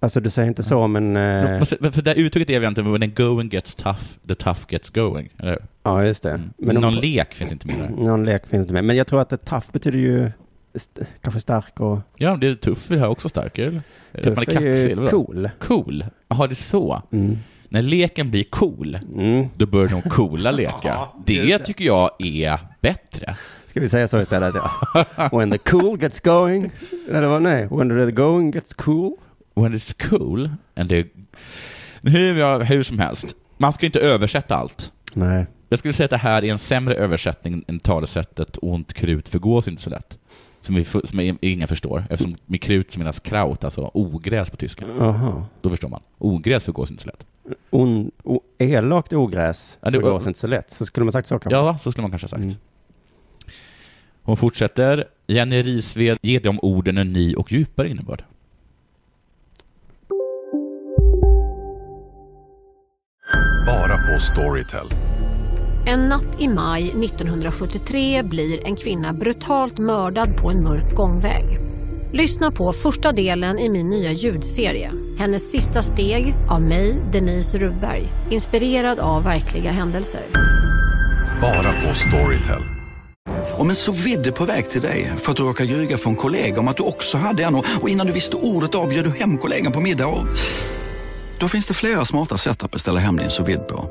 [SPEAKER 5] Alltså, du säger inte så, men... Eh,
[SPEAKER 7] För för det här uttrycket är väl egentligen when the going gets tough, the tough gets going, eller hur?
[SPEAKER 5] ja, just det.
[SPEAKER 7] Men
[SPEAKER 5] om-
[SPEAKER 7] Mm. Någon lek finns inte med där.
[SPEAKER 5] Någon lek finns inte med. Men jag tror att tough betyder ju st- kanske stark och...
[SPEAKER 7] Ja, det är tuff är det här också starkare, eller? Är det att
[SPEAKER 5] Tuff
[SPEAKER 7] man
[SPEAKER 5] är
[SPEAKER 7] kaxig,
[SPEAKER 5] ju
[SPEAKER 7] eller vadå?
[SPEAKER 5] cool.
[SPEAKER 7] Cool? Jaha, det är så.
[SPEAKER 5] Mm.
[SPEAKER 7] När leken blir cool,
[SPEAKER 5] Mm.
[SPEAKER 7] då börjar de coola leka. Det tycker jag är bättre.
[SPEAKER 5] Ska vi säga så istället? Ja. When the cool gets going. Eller vad? Nej. When the going gets cool.
[SPEAKER 7] When it's cool, and the... hur, jag- hur som helst, man ska ju inte översätta allt.
[SPEAKER 5] Nej.
[SPEAKER 7] Jag skulle säga att det här är en sämre översättning än talesättet ont krut förgås inte så lätt. Som, vi, som i- inga förstår, eftersom med krut så menas kraut, alltså ogräs på tyska.
[SPEAKER 5] Jaha.
[SPEAKER 7] Då förstår man. Ogräs förgås inte så lätt.
[SPEAKER 5] On, o, elakt ogräs
[SPEAKER 7] Ja, det-
[SPEAKER 5] förgås inte så lätt. Så skulle man sagt så kanske?
[SPEAKER 7] Ja, så skulle man kanske ha sagt.
[SPEAKER 5] Mm.
[SPEAKER 7] Hon fortsätter. Jenny Risved ger de orden en ny och djupare innebörd.
[SPEAKER 4] Bara på Storytel.
[SPEAKER 8] En natt i maj 1973 blir en kvinna brutalt mördad på en mörk gångväg. Lyssna på första delen i min nya ljudserie. Hennes sista steg av mig, Denise Rubberg. Inspirerad av verkliga händelser.
[SPEAKER 4] Bara på Storytel.
[SPEAKER 9] Om en så vidde på väg till dig för att du råkar ljuga från kollega om att du också hade en och och innan du visste ordet av bjöd du hem kollegan på middag och... Då finns det flera smarta sätt att beställa hem din sous vide på.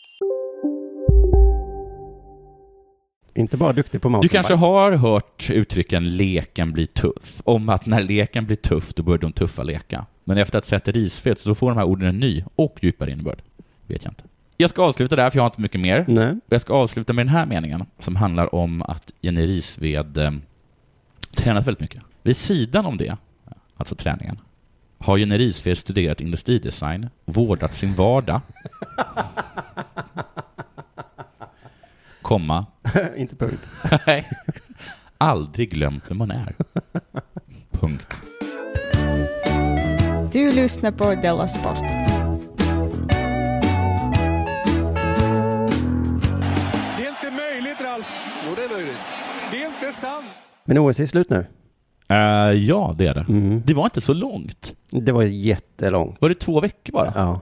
[SPEAKER 5] Inte bara duktig på mountainbike.
[SPEAKER 7] Du kanske har hört uttrycken leken blir tuff, om att när leken blir tuff då börjar de tuffa leka. Men efter att ha sett Risved så får de här orden en ny och djupare innebörd. Vet jag inte. Jag ska avsluta där, för jag har inte mycket mer.
[SPEAKER 5] Nej.
[SPEAKER 7] Och jag ska avsluta med den här meningen som handlar om att Jenny Risved eh, tränat väldigt mycket. Vid sidan om det, alltså träningen, har Jenny Risved studerat industridesign, vårdat sin vardag, komma,
[SPEAKER 5] inte punkt.
[SPEAKER 7] nej, aldrig glömt vem man är. Punkt.
[SPEAKER 8] Du lyssnar på Della Sport.
[SPEAKER 4] Det är inte möjligt, Ralf. Jo, det är möjligt. Det är inte sant.
[SPEAKER 5] Men OS är slut nu.
[SPEAKER 7] Eh, ja, det är det. Det var inte så långt.
[SPEAKER 5] Det var jättelångt.
[SPEAKER 7] Var det två veckor bara?
[SPEAKER 5] Ja.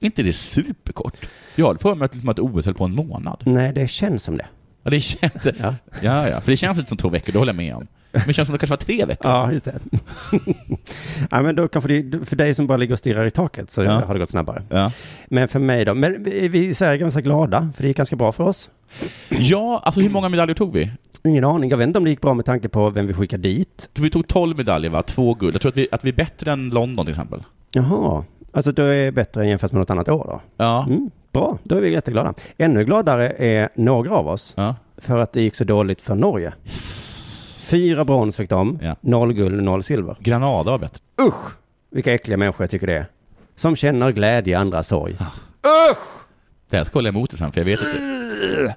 [SPEAKER 7] inte det superkort? Jag hade för mig att, liksom att OS höll på en månad.
[SPEAKER 5] Nej, det känns som det.
[SPEAKER 7] Ja, det känns, ja. Ja, för det känns inte som två veckor, det håller jag med om. Men det känns som det kanske var tre veckor.
[SPEAKER 5] Ja, just det. ja, men då kanske det, för dig som bara ligger och stirrar i taket så
[SPEAKER 7] Ja.
[SPEAKER 5] har det gått snabbare.
[SPEAKER 7] Ja.
[SPEAKER 5] Men för mig då? Men vi vi i Sverige är ganska glada, för det gick ganska bra för oss.
[SPEAKER 7] Ja, alltså hur många medaljer tog vi?
[SPEAKER 5] Ingen aning. Jag vet inte om det gick bra med tanke på vem vi skickade dit.
[SPEAKER 7] Vi tog 12 medaljer, va? Två guld. Jag tror att vi, att vi är bättre än London till exempel.
[SPEAKER 5] Jaha. Alltså då är det bättre jämfört med något annat år då?
[SPEAKER 7] Ja.
[SPEAKER 5] Mm, bra, då är vi jätteglada. Ännu gladare är några av oss för att det gick så dåligt för Norge. Fyra brons fick de, noll guld, noll silver.
[SPEAKER 7] Granada var bättre.
[SPEAKER 5] Usch, vilka äckliga människor jag tycker det är. Som känner glädje i andras sorg.
[SPEAKER 7] Det här ska jag hålla emot det sen, för jag vet inte.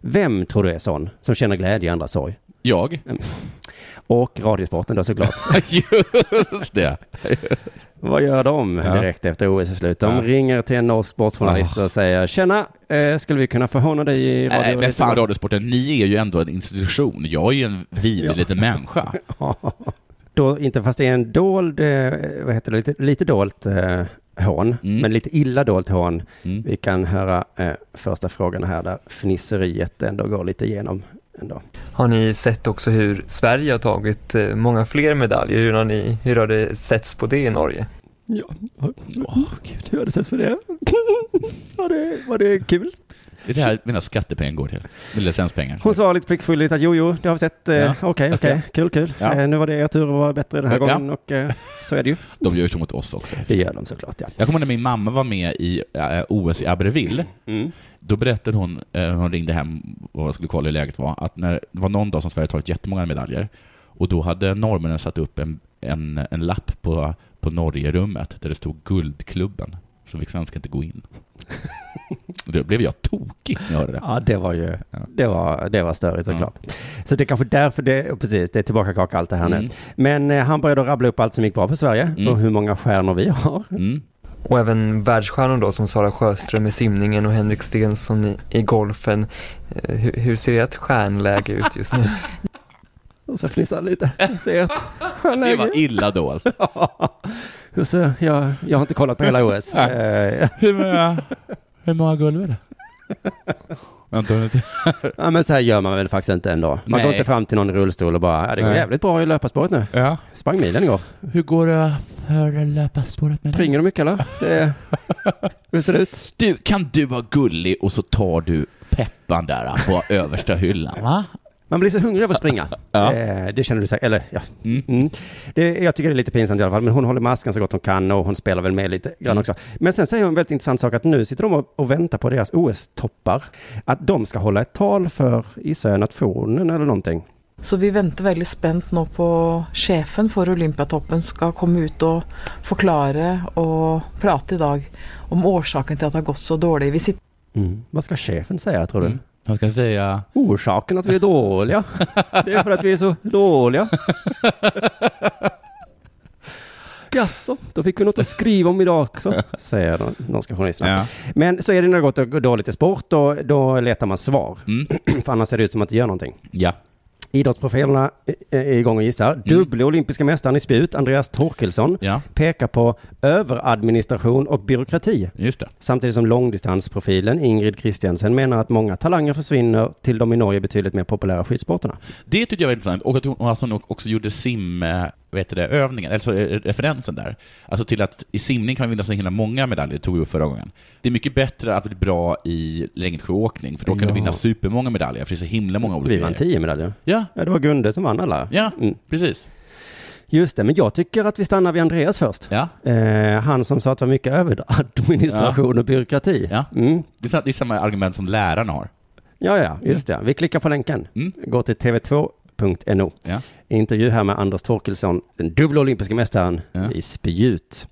[SPEAKER 5] Vem tror du är sån som känner glädje i andras sorg?
[SPEAKER 7] Jag?
[SPEAKER 5] Och Radiosporten då såklart.
[SPEAKER 7] Just det.
[SPEAKER 5] Vad gör de
[SPEAKER 7] Ja.
[SPEAKER 5] direkt efter OS är slut? De
[SPEAKER 7] Ja.
[SPEAKER 5] ringer till en norsk sportjournalist och säger Tjena, eh, skulle vi kunna få håna dig i radio?
[SPEAKER 7] Nej, men
[SPEAKER 5] lite
[SPEAKER 7] fan
[SPEAKER 5] grann?"
[SPEAKER 7] Radiosporten, ni är ju ändå en institution. Jag är ju en vidrig liten människa.
[SPEAKER 5] Då, inte fast det är en dold, eh, vad heter det, lite, lite dolt eh, hån, men lite illa dolt hån.
[SPEAKER 7] Mm.
[SPEAKER 5] Vi kan höra eh, första frågan här där fnisseriet ändå går lite igenom. Ändå.
[SPEAKER 10] Har ni sett också hur Sverige har tagit eh, många fler medaljer? Hur har, ni, hur har det setts på det i Norge?
[SPEAKER 5] Ja, åh gud, hur har det sett för det? var, det var det kul?
[SPEAKER 7] Det är det här mina skattepengar går till. Med licenspengar.
[SPEAKER 5] Hon svarade lite pliktskyldigt att jo, jo, det har vi sett. eh,
[SPEAKER 7] Ja.
[SPEAKER 5] Okej, okej,
[SPEAKER 7] Okej.
[SPEAKER 5] kul, kul.
[SPEAKER 7] Ja.
[SPEAKER 5] Eh, nu var det er tur att vara bättre den här
[SPEAKER 7] Ja.
[SPEAKER 5] gången och eh, så är det ju.
[SPEAKER 7] De gör ju så mot oss också.
[SPEAKER 5] Det gör de såklart, ja.
[SPEAKER 7] Jag kommer ihåg när min mamma var med i eh, OS i Abbeville.
[SPEAKER 5] Mm.
[SPEAKER 7] Då berättade hon, eh, hon ringde hem och skulle kolla hur läget var, att när, det var någon dag som Sverige tagit jättemånga medaljer. Och då hade norrmännen satt upp en, en, en lapp på, på Norgerummet där det stod Guldklubben. Så fick svenskar inte gå in. Och då blev jag tokig när jag hörde det.
[SPEAKER 5] Ja, det var ju, det var, det var störigt såklart. Så det är kanske därför det, och precis, det är tillbaka kaka allt det här nu.
[SPEAKER 7] Mm.
[SPEAKER 5] Men eh, han började rabbla upp allt som gick bra för Sverige och hur många stjärnor vi har.
[SPEAKER 7] Mm.
[SPEAKER 10] Och även världsstjärnor då som Sara Sjöström i simningen och Henrik Stenson i, i golfen. Eh, Hur, hur ser ert stjärnläge ut just nu?
[SPEAKER 5] Och så fnissar han lite. Se ett
[SPEAKER 7] Det
[SPEAKER 5] stjärnläge.
[SPEAKER 7] var illa dolt.
[SPEAKER 5] Och så, jag, jag har inte kollat på hela OS.
[SPEAKER 7] Nej.
[SPEAKER 5] Eh,
[SPEAKER 7] Hur många, hur många guld är det? Vänta, vänta.
[SPEAKER 5] ja, men så här gör man väl faktiskt inte ändå. Man
[SPEAKER 7] Nej.
[SPEAKER 5] går inte fram till någon i rullstol och bara, ja, det går
[SPEAKER 7] Nej.
[SPEAKER 5] jävligt bra i löparspåret nu.
[SPEAKER 7] Ja.
[SPEAKER 5] Sprang milen igår.
[SPEAKER 7] Hur går det för löparspåret med
[SPEAKER 5] Springer du mycket eller? Det, hur ser det ut?
[SPEAKER 7] Du, kan du vara gullig och så tar du peppan där på översta hyllan? Va?
[SPEAKER 5] Man blir så hungrig av att springa.
[SPEAKER 7] Ja.
[SPEAKER 5] Eh, det känner du säkert, eller ja. Mm. Det, jag tycker det är lite pinsamt i alla fall, men hon håller masken så gott hon kan och hon spelar väl med lite grann
[SPEAKER 7] Mm.
[SPEAKER 5] också. Men sen säger hon en väldigt intressant sak att nu sitter de och, och väntar på deras OS-toppar. Att de ska hålla ett tal för, gissar jag, nationen eller någonting.
[SPEAKER 11] Så vi venter veldig spent nå på sjefen for Olympiatoppen skal komme ut og forklare og prate i dag om årsaken til at det har gått så dårlig. Vi sitter
[SPEAKER 7] Mm.
[SPEAKER 5] Vad ska chefen säga, tror du?
[SPEAKER 7] Han ska säga...
[SPEAKER 5] Orsaken att vi är dåliga, det är för att vi är så dåliga. Jaså, då fick vi något att skriva om idag också, säger de norska journalisterna. Men så är det när det har gått dåligt i sport, då, då letar man svar. För annars ser det ut som att det gör någonting.
[SPEAKER 7] Ja.
[SPEAKER 5] Idrottsprofilerna eh, är är igång och gissar. Dubbla olympiska mästaren i spjut, Andreas Torkelsson,
[SPEAKER 7] Ja.
[SPEAKER 5] pekar på överadministration och byråkrati.
[SPEAKER 7] Just det.
[SPEAKER 5] Samtidigt som långdistansprofilen Ingrid Christiansen menar att många talanger försvinner till de i Norge betydligt mer populära skidsporterna.
[SPEAKER 7] Det tyckte jag var intressant, och att hon alltså hon också gjorde sim, eh, vad heter det, övningen, alltså eh, referensen där. Alltså till att i simning kan man vinna så himla många medaljer, det tog vi upp förra gången. Det är mycket bättre att bli bra i längdskidåkning, för då kan
[SPEAKER 5] Ja.
[SPEAKER 7] du vinna supermånga medaljer, för det är så himla många olika
[SPEAKER 5] Vi vann
[SPEAKER 7] grejer.
[SPEAKER 5] tio medaljer.
[SPEAKER 7] Ja.
[SPEAKER 5] det var Gunde som vann alla. Mm.
[SPEAKER 7] Ja, precis.
[SPEAKER 5] Just det, men jag tycker att vi stannar vid Andreas först. Eh, han som sa att det var mycket överadministration och byråkrati.
[SPEAKER 7] Ja.
[SPEAKER 5] Mm.
[SPEAKER 7] Det är sa- det är samma argument som lärarna har.
[SPEAKER 5] Ja, ja, just
[SPEAKER 7] Mm.
[SPEAKER 5] det. Vi klickar på länken. Gå till tv2.no.
[SPEAKER 7] Ja.
[SPEAKER 5] Intervju här med Anders Torkelsson, den dubbla olympiska mästaren i spjut.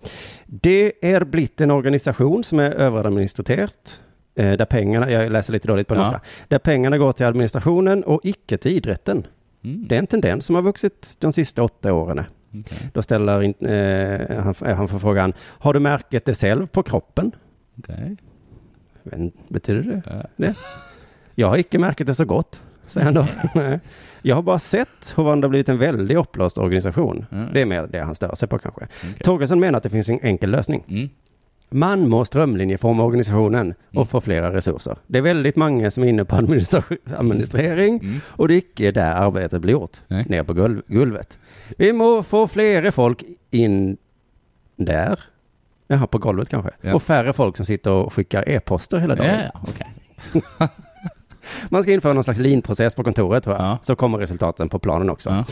[SPEAKER 5] Det är blivit en organisation som är överadministrerat, eh, där pengarna, jag läser lite dåligt på
[SPEAKER 7] Ja.
[SPEAKER 5] norska, där pengarna går till administrationen och icke till idrotten. Det är en tendens som har vuxit de sista åtta åren. Då ställer in- eh, han, han får frågan, har du märket det själv på kroppen?
[SPEAKER 7] Okej.
[SPEAKER 5] Men, betyder det det? Jag har icke märkt det så gott. säger han då. Nej. Jag har bara sett hur Rwanda blivit en väldigt uppblåst organisation. Det är mer det han stör sig på kanske. Torgerson menar att det finns en enkel lösning. Man måste strömlinjeforma organisationen och få flera resurser. Det är väldigt många som är inne på administra- administrering och det är icke där arbetet blir gjort, ner på golv- golvet. Vi må få flera folk in där, jaha, på golvet kanske, och färre folk som sitter och skickar e-poster hela dagen.
[SPEAKER 7] Ja,
[SPEAKER 5] Man ska införa någon slags linprocess på kontoret tror jag. Så kommer resultaten på planen också.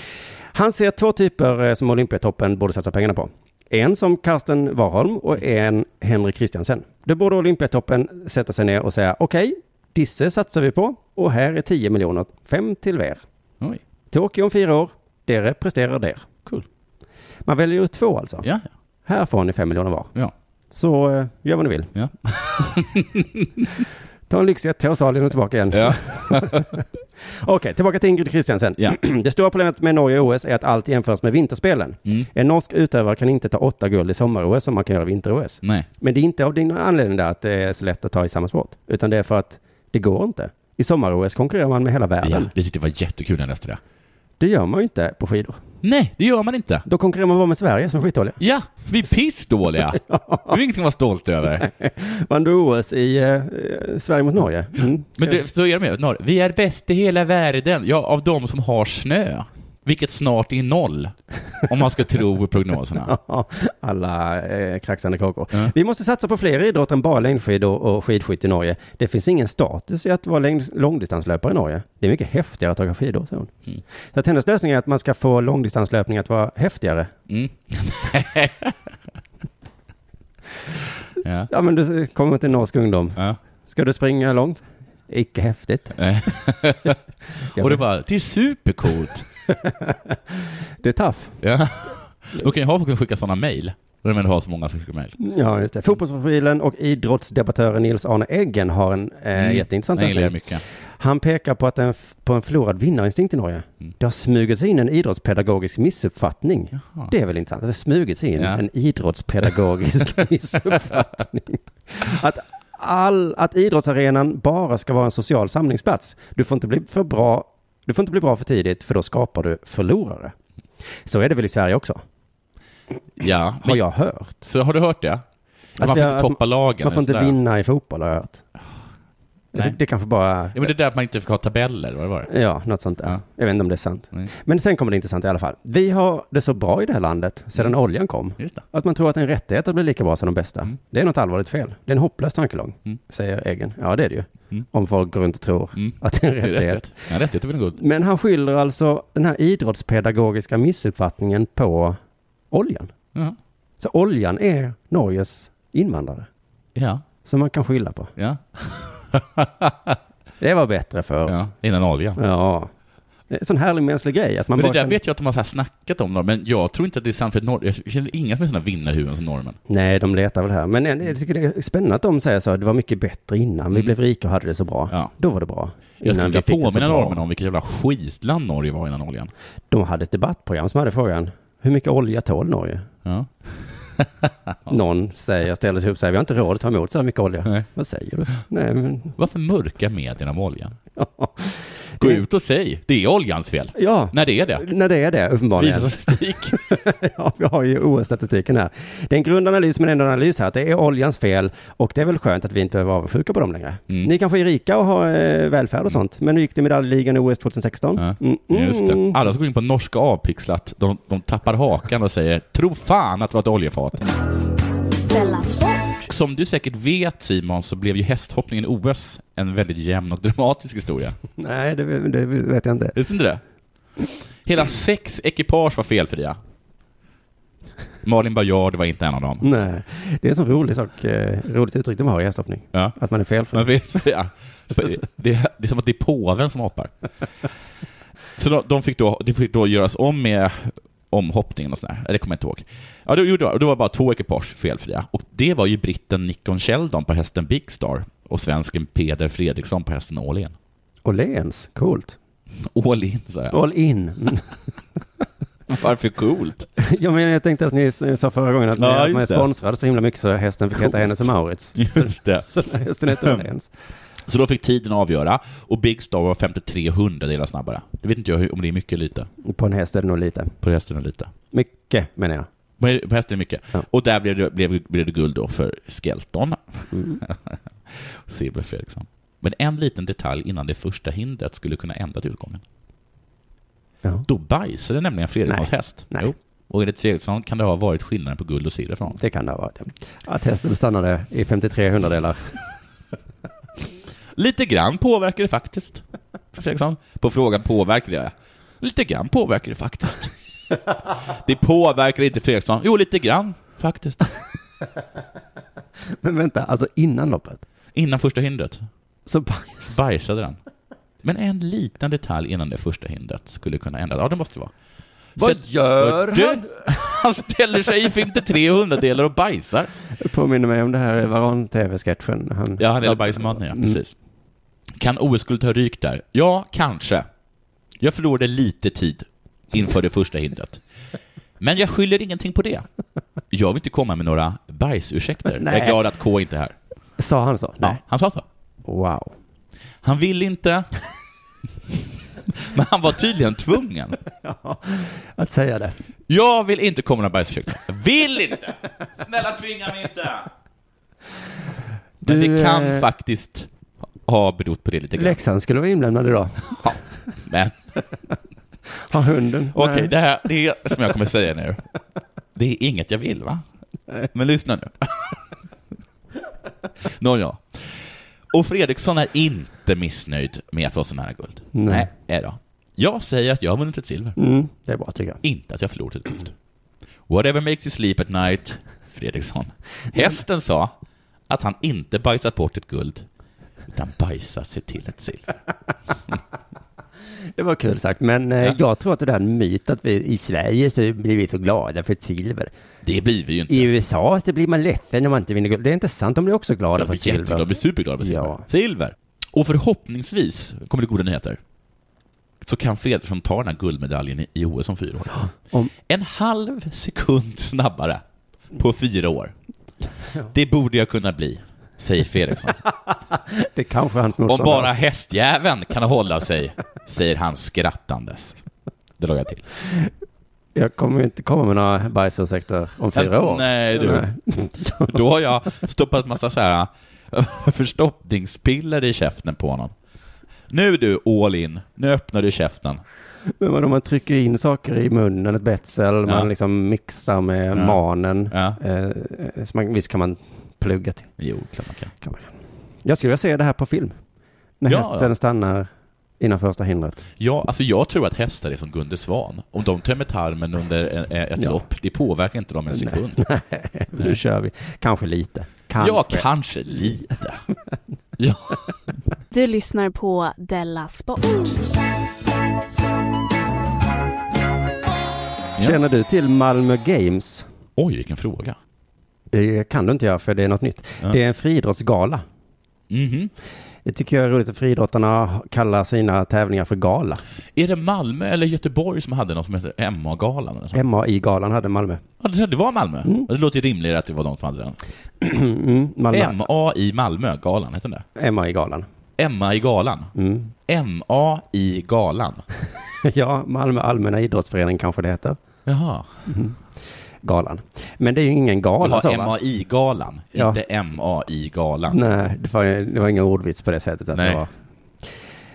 [SPEAKER 5] Han ser två typer eh, som Olympiatoppen borde satsa pengarna på. En som Karsten Warholm och en Henrik Christiansen. Då borde Olympiatoppen sätta sig ner och säga okej, Disse satsar vi på och här är 10 miljoner, fem till er.
[SPEAKER 7] Oj.
[SPEAKER 5] Tokyo om fyra år, dere presterar där. Cool. Man väljer ut två alltså. Här får ni fem miljoner var. Så eh, gör vad ni vill. Ta en lyxjet till Australien och tillbaka igen. Okej, tillbaka till Ingrid Christiansen. Det stora problemet med Norge och OS är att allt jämförs med vinterspelen.
[SPEAKER 7] Mm.
[SPEAKER 5] En norsk utövare kan inte ta åtta guld i sommar-OS som man kan göra i vinter-OS.
[SPEAKER 7] Nej.
[SPEAKER 5] Men det är inte av din anledning där att det är så lätt att ta i samma sport, utan det är för att det går inte. I sommar-OS konkurrerar man med hela
[SPEAKER 7] Ja,
[SPEAKER 5] världen.
[SPEAKER 7] det tyckte jag var jättekul när jag läste det.
[SPEAKER 5] Det gör man ju inte på skidor.
[SPEAKER 7] Nej, det gör man inte.
[SPEAKER 5] Då konkurrerar man bara med Sverige som är skitdåliga.
[SPEAKER 7] Ja, vi är pissdåliga. Det är ingenting att vara stolt över.
[SPEAKER 5] Vann du OS i eh, eh, Sverige mot Norge? Mm.
[SPEAKER 7] Men det, så är de ju. Norr. Vi är bäst i hela världen. Ja, av de som har snö. Vilket snart är noll. Om man ska tro prognoserna.
[SPEAKER 5] Ja, alla eh, kraxande kakor. Vi måste satsa på fler idrotter än bara längdskidor och skidskytte i Norge. Det finns ingen status i att vara längd, långdistanslöpare i Norge. Det är mycket häftigare att åka skidor, säger hon.
[SPEAKER 7] Mm.
[SPEAKER 5] Så att hennes lösning är att man ska få långdistanslöpning att vara häftigare.
[SPEAKER 7] Mm. ja.
[SPEAKER 5] Ja, men du kommer till norsk ungdom.
[SPEAKER 7] Ja.
[SPEAKER 5] Ska du springa långt? Icke häftigt.
[SPEAKER 7] Nej. Och det bara, det är supercoolt.
[SPEAKER 5] Det är taff.
[SPEAKER 7] Ja. Då kan ju ha folk som skickar sådana mejl. Då är det ha så många som skickar mejl.
[SPEAKER 5] Ja, just det. Fotbollsprofilen och idrottsdebattören Nils Arne Eggen har en eh,
[SPEAKER 7] Mm.
[SPEAKER 5] jätteintressant
[SPEAKER 7] Den gillar jag
[SPEAKER 5] lösning.
[SPEAKER 7] mycket.
[SPEAKER 5] Han pekar på, att en, f- på en förlorad vinnarinstinkt i Norge. Det har smugit sig in en idrottspedagogisk missuppfattning. Det är väl intressant? Att det har smugit sig in
[SPEAKER 7] Ja.
[SPEAKER 5] en idrottspedagogisk missuppfattning. Att, all, att idrottsarenan bara ska vara en social samlingsplats. Du får inte bli för bra, du får inte bli bra för tidigt, för då skapar du förlorare. Så är det väl i Sverige också,
[SPEAKER 7] Ja.
[SPEAKER 5] har jag hört.
[SPEAKER 7] Så har du hört det? man får
[SPEAKER 5] jag-
[SPEAKER 7] inte toppa lagen.
[SPEAKER 5] Man får
[SPEAKER 7] och
[SPEAKER 5] inte
[SPEAKER 7] sådär.
[SPEAKER 5] vinna i fotboll har jag hört.
[SPEAKER 7] Nej.
[SPEAKER 5] Det, det kanske bara...
[SPEAKER 7] Ja, men det är där att man inte fick ha tabeller, vad var det?
[SPEAKER 5] Ja, något sånt där. Jag vet inte om det är sant. Men sen kommer det intressant i alla fall. Vi har det så bra i det här landet sedan oljan kom. Att man tror att en rättighet att bli lika bra som de bästa. Det är något allvarligt fel. Det är en hopplös tankelång, säger Egen. Ja, det är det ju. Om folk går runt och tror att det är en rättighet.
[SPEAKER 7] Ja, Mm. rättighet är väl en god...
[SPEAKER 5] Men han skyller alltså den här idrottspedagogiska missuppfattningen på oljan.
[SPEAKER 7] Ja.
[SPEAKER 5] Så oljan är Norges invandrare.
[SPEAKER 7] Ja.
[SPEAKER 5] Som man kan skylla på.
[SPEAKER 7] ja.
[SPEAKER 5] Det var bättre för.
[SPEAKER 7] Ja, innan oljan.
[SPEAKER 5] Ja. Det är en sån härlig mänsklig grej. Att man
[SPEAKER 7] men det
[SPEAKER 5] bara
[SPEAKER 7] där
[SPEAKER 5] kan...
[SPEAKER 7] vet jag att de har så här snackat om, men jag tror inte att det är sant, för norr... jag känner inga som är sådana vinnarhuvuden som norrmän.
[SPEAKER 5] Nej, de letar väl här. Men jag tycker det är spännande att de säger så. Det var mycket bättre innan. Vi blev rika och hade det så bra. Då var det bra.
[SPEAKER 7] Mm. Jag skulle
[SPEAKER 5] vi
[SPEAKER 7] vilja
[SPEAKER 5] fick det så
[SPEAKER 7] påminna
[SPEAKER 5] bra.
[SPEAKER 7] norrmännen om vilket jävla skitland Norge var innan oljan.
[SPEAKER 5] De hade ett debattprogram som hade frågan. Hur mycket olja tål Norge?
[SPEAKER 7] Ja.
[SPEAKER 5] Någon säger, ställer sig upp och säger vi har inte råd att ta emot så här mycket olja.
[SPEAKER 7] Nej.
[SPEAKER 5] Vad säger du? Nej, men...
[SPEAKER 7] Varför mörka medierna om oljan? Gå ut och säg, det är oljans fel.
[SPEAKER 5] Ja.
[SPEAKER 7] När det är det.
[SPEAKER 5] När det är det, uppenbarligen.
[SPEAKER 7] Visa statistik.
[SPEAKER 5] ja, vi har ju OS-statistiken här. Det är en grundanalys, men ändå en analys här. att Det är oljans fel och det är väl skönt att vi inte behöver vara avundsjuka på dem längre.
[SPEAKER 7] Mm.
[SPEAKER 5] Ni kanske är rika och har eh, välfärd och sånt, men nu gick det i medaljligan i OS 2016. Mm, mm.
[SPEAKER 7] Just det. Alla som går in på norska avpixlat, de, de tappar hakan och säger tro fan att det var ett oljefat. Som du säkert vet Simon så blev ju hästhoppningen i OS en väldigt jämn och dramatisk historia.
[SPEAKER 5] Nej, det, det vet jag inte.
[SPEAKER 7] Visste inte det? Hela sex ekipage var felfria. Malin Baryard var inte en av dem.
[SPEAKER 5] Nej, det är en sån rolig sak, eh, roligt uttryck de har i hästhoppning.
[SPEAKER 7] Ja.
[SPEAKER 5] Att man är felfri.
[SPEAKER 7] Men vi, ja. det, det, det är som att det är påven som hoppar. Så de, de fick då, det fick då göras om med omhoppningen och sådär. Det kommer jag inte ihåg. Ja, det gjorde jag. Och Då var bara två ekipage felfria. Och det var ju britten Nikon Sheldon på hästen Big Star och svensken Peder Fredriksson på hästen All In.
[SPEAKER 5] Åhléns, coolt.
[SPEAKER 7] All In, sa jag.
[SPEAKER 5] All in. Mm.
[SPEAKER 7] Varför coolt?
[SPEAKER 5] jag menar, jag tänkte att ni s- sa förra gången att ni
[SPEAKER 7] Ja,
[SPEAKER 5] att
[SPEAKER 7] just
[SPEAKER 5] man är
[SPEAKER 7] det.
[SPEAKER 5] sponsrad så himla mycket så hästen fick heta
[SPEAKER 7] Coolt. Mm.
[SPEAKER 5] Hennes och Maurits.
[SPEAKER 7] Just det.
[SPEAKER 5] Så hästen heter Åhléns.
[SPEAKER 7] Så då fick tiden avgöra och Big Star var 53 hundradelar snabbare. Det vet inte jag hur- om det är mycket eller lite.
[SPEAKER 5] På en häst är det nog lite.
[SPEAKER 7] På hästen är det lite.
[SPEAKER 5] Mycket, menar jag.
[SPEAKER 7] På- På hästen är det mycket. Och där blev det, blev, blev det guld då för Skelton. Mm. Silver Fredriksson. Men en liten detalj innan det första hindret skulle kunna ändra till utgången. Då bajsade nämligen Fredrikssons häst. Nej. Jo. Och enligt Fredriksson kan det ha varit skillnaden på guld och silver för honom.
[SPEAKER 5] Det kan det ha varit. Att hästen stannade i 53 hundradelar.
[SPEAKER 7] Lite grann påverkar det faktiskt. Fredriksson. På frågan påverkar det? Lite grann påverkar det faktiskt. Det påverkar inte Fredriksson. Jo, lite grann faktiskt.
[SPEAKER 5] Men vänta, alltså innan loppet?
[SPEAKER 7] Innan första hindret.
[SPEAKER 5] Så
[SPEAKER 7] bajsade den. Men en liten detalj innan det första hindret skulle kunna ändra. Ja, det måste det vara.
[SPEAKER 5] Vad
[SPEAKER 7] För-
[SPEAKER 5] gör
[SPEAKER 7] Du-
[SPEAKER 5] han?
[SPEAKER 7] Han ställer sig i 53 hundradelar och bajsar.
[SPEAKER 5] Det påminner mig om det här Varan-TV-sketchen. Han...
[SPEAKER 7] Ja, han gäller bajsmaten,
[SPEAKER 5] Mm.
[SPEAKER 7] ja. Precis. Kan OS-guld ta ryk där? Ja, kanske. Jag förlorade lite tid inför det första hindret. Men jag skyller ingenting på det. Jag vill inte komma med några bajsursäkter. Jag är
[SPEAKER 5] Nej.
[SPEAKER 7] glad att K inte är här.
[SPEAKER 5] Sa han så? Nej.
[SPEAKER 7] Han sa så.
[SPEAKER 5] Wow.
[SPEAKER 7] Han vill inte. Men han var tydligen tvungen.
[SPEAKER 5] Att säga det.
[SPEAKER 7] Jag vill inte komma med några bajsursäkter. Vill inte! Snälla tvinga mig inte! Men
[SPEAKER 5] Du,
[SPEAKER 7] det kan
[SPEAKER 5] eh,
[SPEAKER 7] faktiskt ha berott på det lite grann.
[SPEAKER 5] Leksand skulle vara inlämnad idag.
[SPEAKER 7] Men
[SPEAKER 5] Har hunden?
[SPEAKER 7] Okej,
[SPEAKER 5] Nej.
[SPEAKER 7] det här det är som jag kommer säga nu. Det är inget jag vill, va? Men lyssna nu. Nåja. Och Fredriksson är inte missnöjd med att vara så nära guld.
[SPEAKER 5] Nej.
[SPEAKER 7] Nej då. Jag säger att jag har vunnit ett silver.
[SPEAKER 5] Mm, det är bra tycker jag.
[SPEAKER 7] Inte att jag förlorat ett guld. Whatever makes you sleep at night, Fredriksson. Hästen sa att han inte bajsat bort ett guld, utan bajsat sig till ett silver.
[SPEAKER 5] Det var kul sagt, men eh, jag tror att det där är en myt att vi i Sverige så blir vi så glada för ett silver.
[SPEAKER 7] Det blir vi ju inte.
[SPEAKER 5] I USA så blir man ledsen när man inte vinner guld. Det är inte sant, de blir också glada
[SPEAKER 7] De
[SPEAKER 5] för ett
[SPEAKER 7] blir jätteglada, de
[SPEAKER 5] silver.
[SPEAKER 7] blir superglada på silver. Silver! Och förhoppningsvis kommer det goda nyheter. Så kan Fredriksson ta den här guldmedaljen i- i OS om fyra år. En halv sekund snabbare på fyra år. Det borde jag kunna bli, säger Fredriksson.
[SPEAKER 5] Det kanske hans
[SPEAKER 7] Om
[SPEAKER 5] motståndare.
[SPEAKER 7] bara hästjäveln kan hålla sig, säger han skrattandes. Det la jag till.
[SPEAKER 5] Jag kommer ju inte komma med några bajsursäkter om fyra år.
[SPEAKER 7] Nej, du. Då har jag stoppat massa så här eh, förstoppningspiller i käften på honom. Nu du, all in. Nu öppnar du käften.
[SPEAKER 5] Men vadå, man trycker in saker i munnen, ett betsel, man liksom mixar med manen. Eh, så man, visst kan man plugga till.
[SPEAKER 7] Jo, klart man kan.
[SPEAKER 5] Jag skulle vilja se det här på film. När
[SPEAKER 7] Ja,
[SPEAKER 5] hästen
[SPEAKER 7] ja.
[SPEAKER 5] stannar innan första hindret.
[SPEAKER 7] Ja, alltså jag tror att hästar är som Gunde Svan. Om de tömmer tarmen under en- eh, ett
[SPEAKER 5] Ja.
[SPEAKER 7] lopp, det påverkar inte dem en sekund.
[SPEAKER 5] Nej, nu kör vi. Kanske lite. Kanske.
[SPEAKER 7] Ja, kanske lite.
[SPEAKER 12] Du lyssnar på Della Sport.
[SPEAKER 5] Känner du till Malmö Games?
[SPEAKER 7] Oj, vilken fråga.
[SPEAKER 5] Det kan du inte göra för det är något nytt.
[SPEAKER 7] Ja.
[SPEAKER 5] Det är en friidrottsgala.
[SPEAKER 7] Mhm.
[SPEAKER 5] Det tycker jag är roligt att friidrottarna kallar sina tävlingar för gala.
[SPEAKER 7] Är det Malmö eller Göteborg som hade något som heter MA-galan?
[SPEAKER 5] Mm.
[SPEAKER 7] eller så?
[SPEAKER 5] MAI-galan hade Malmö.
[SPEAKER 7] Ja, det- det var Malmö. Det låter ju rimligare att det var de som hade den.
[SPEAKER 5] Mm, Malmö.
[SPEAKER 7] MA i Malmö-galan, hette den
[SPEAKER 5] MAI-galan.
[SPEAKER 7] det? MA i galan.
[SPEAKER 5] Mm.
[SPEAKER 7] MA i galan.
[SPEAKER 5] ja, Malmö allmänna idrottsförening kanske det heter.
[SPEAKER 7] Jaha.
[SPEAKER 5] Mm. Galan. Men det är ju ingen gala så
[SPEAKER 7] Jaha,
[SPEAKER 5] va?
[SPEAKER 7] MAI-galan,
[SPEAKER 5] Ja.
[SPEAKER 7] inte MAI-galan.
[SPEAKER 5] Nej, det var, det var ingen ordvits på det sättet att
[SPEAKER 7] Nej.
[SPEAKER 5] det var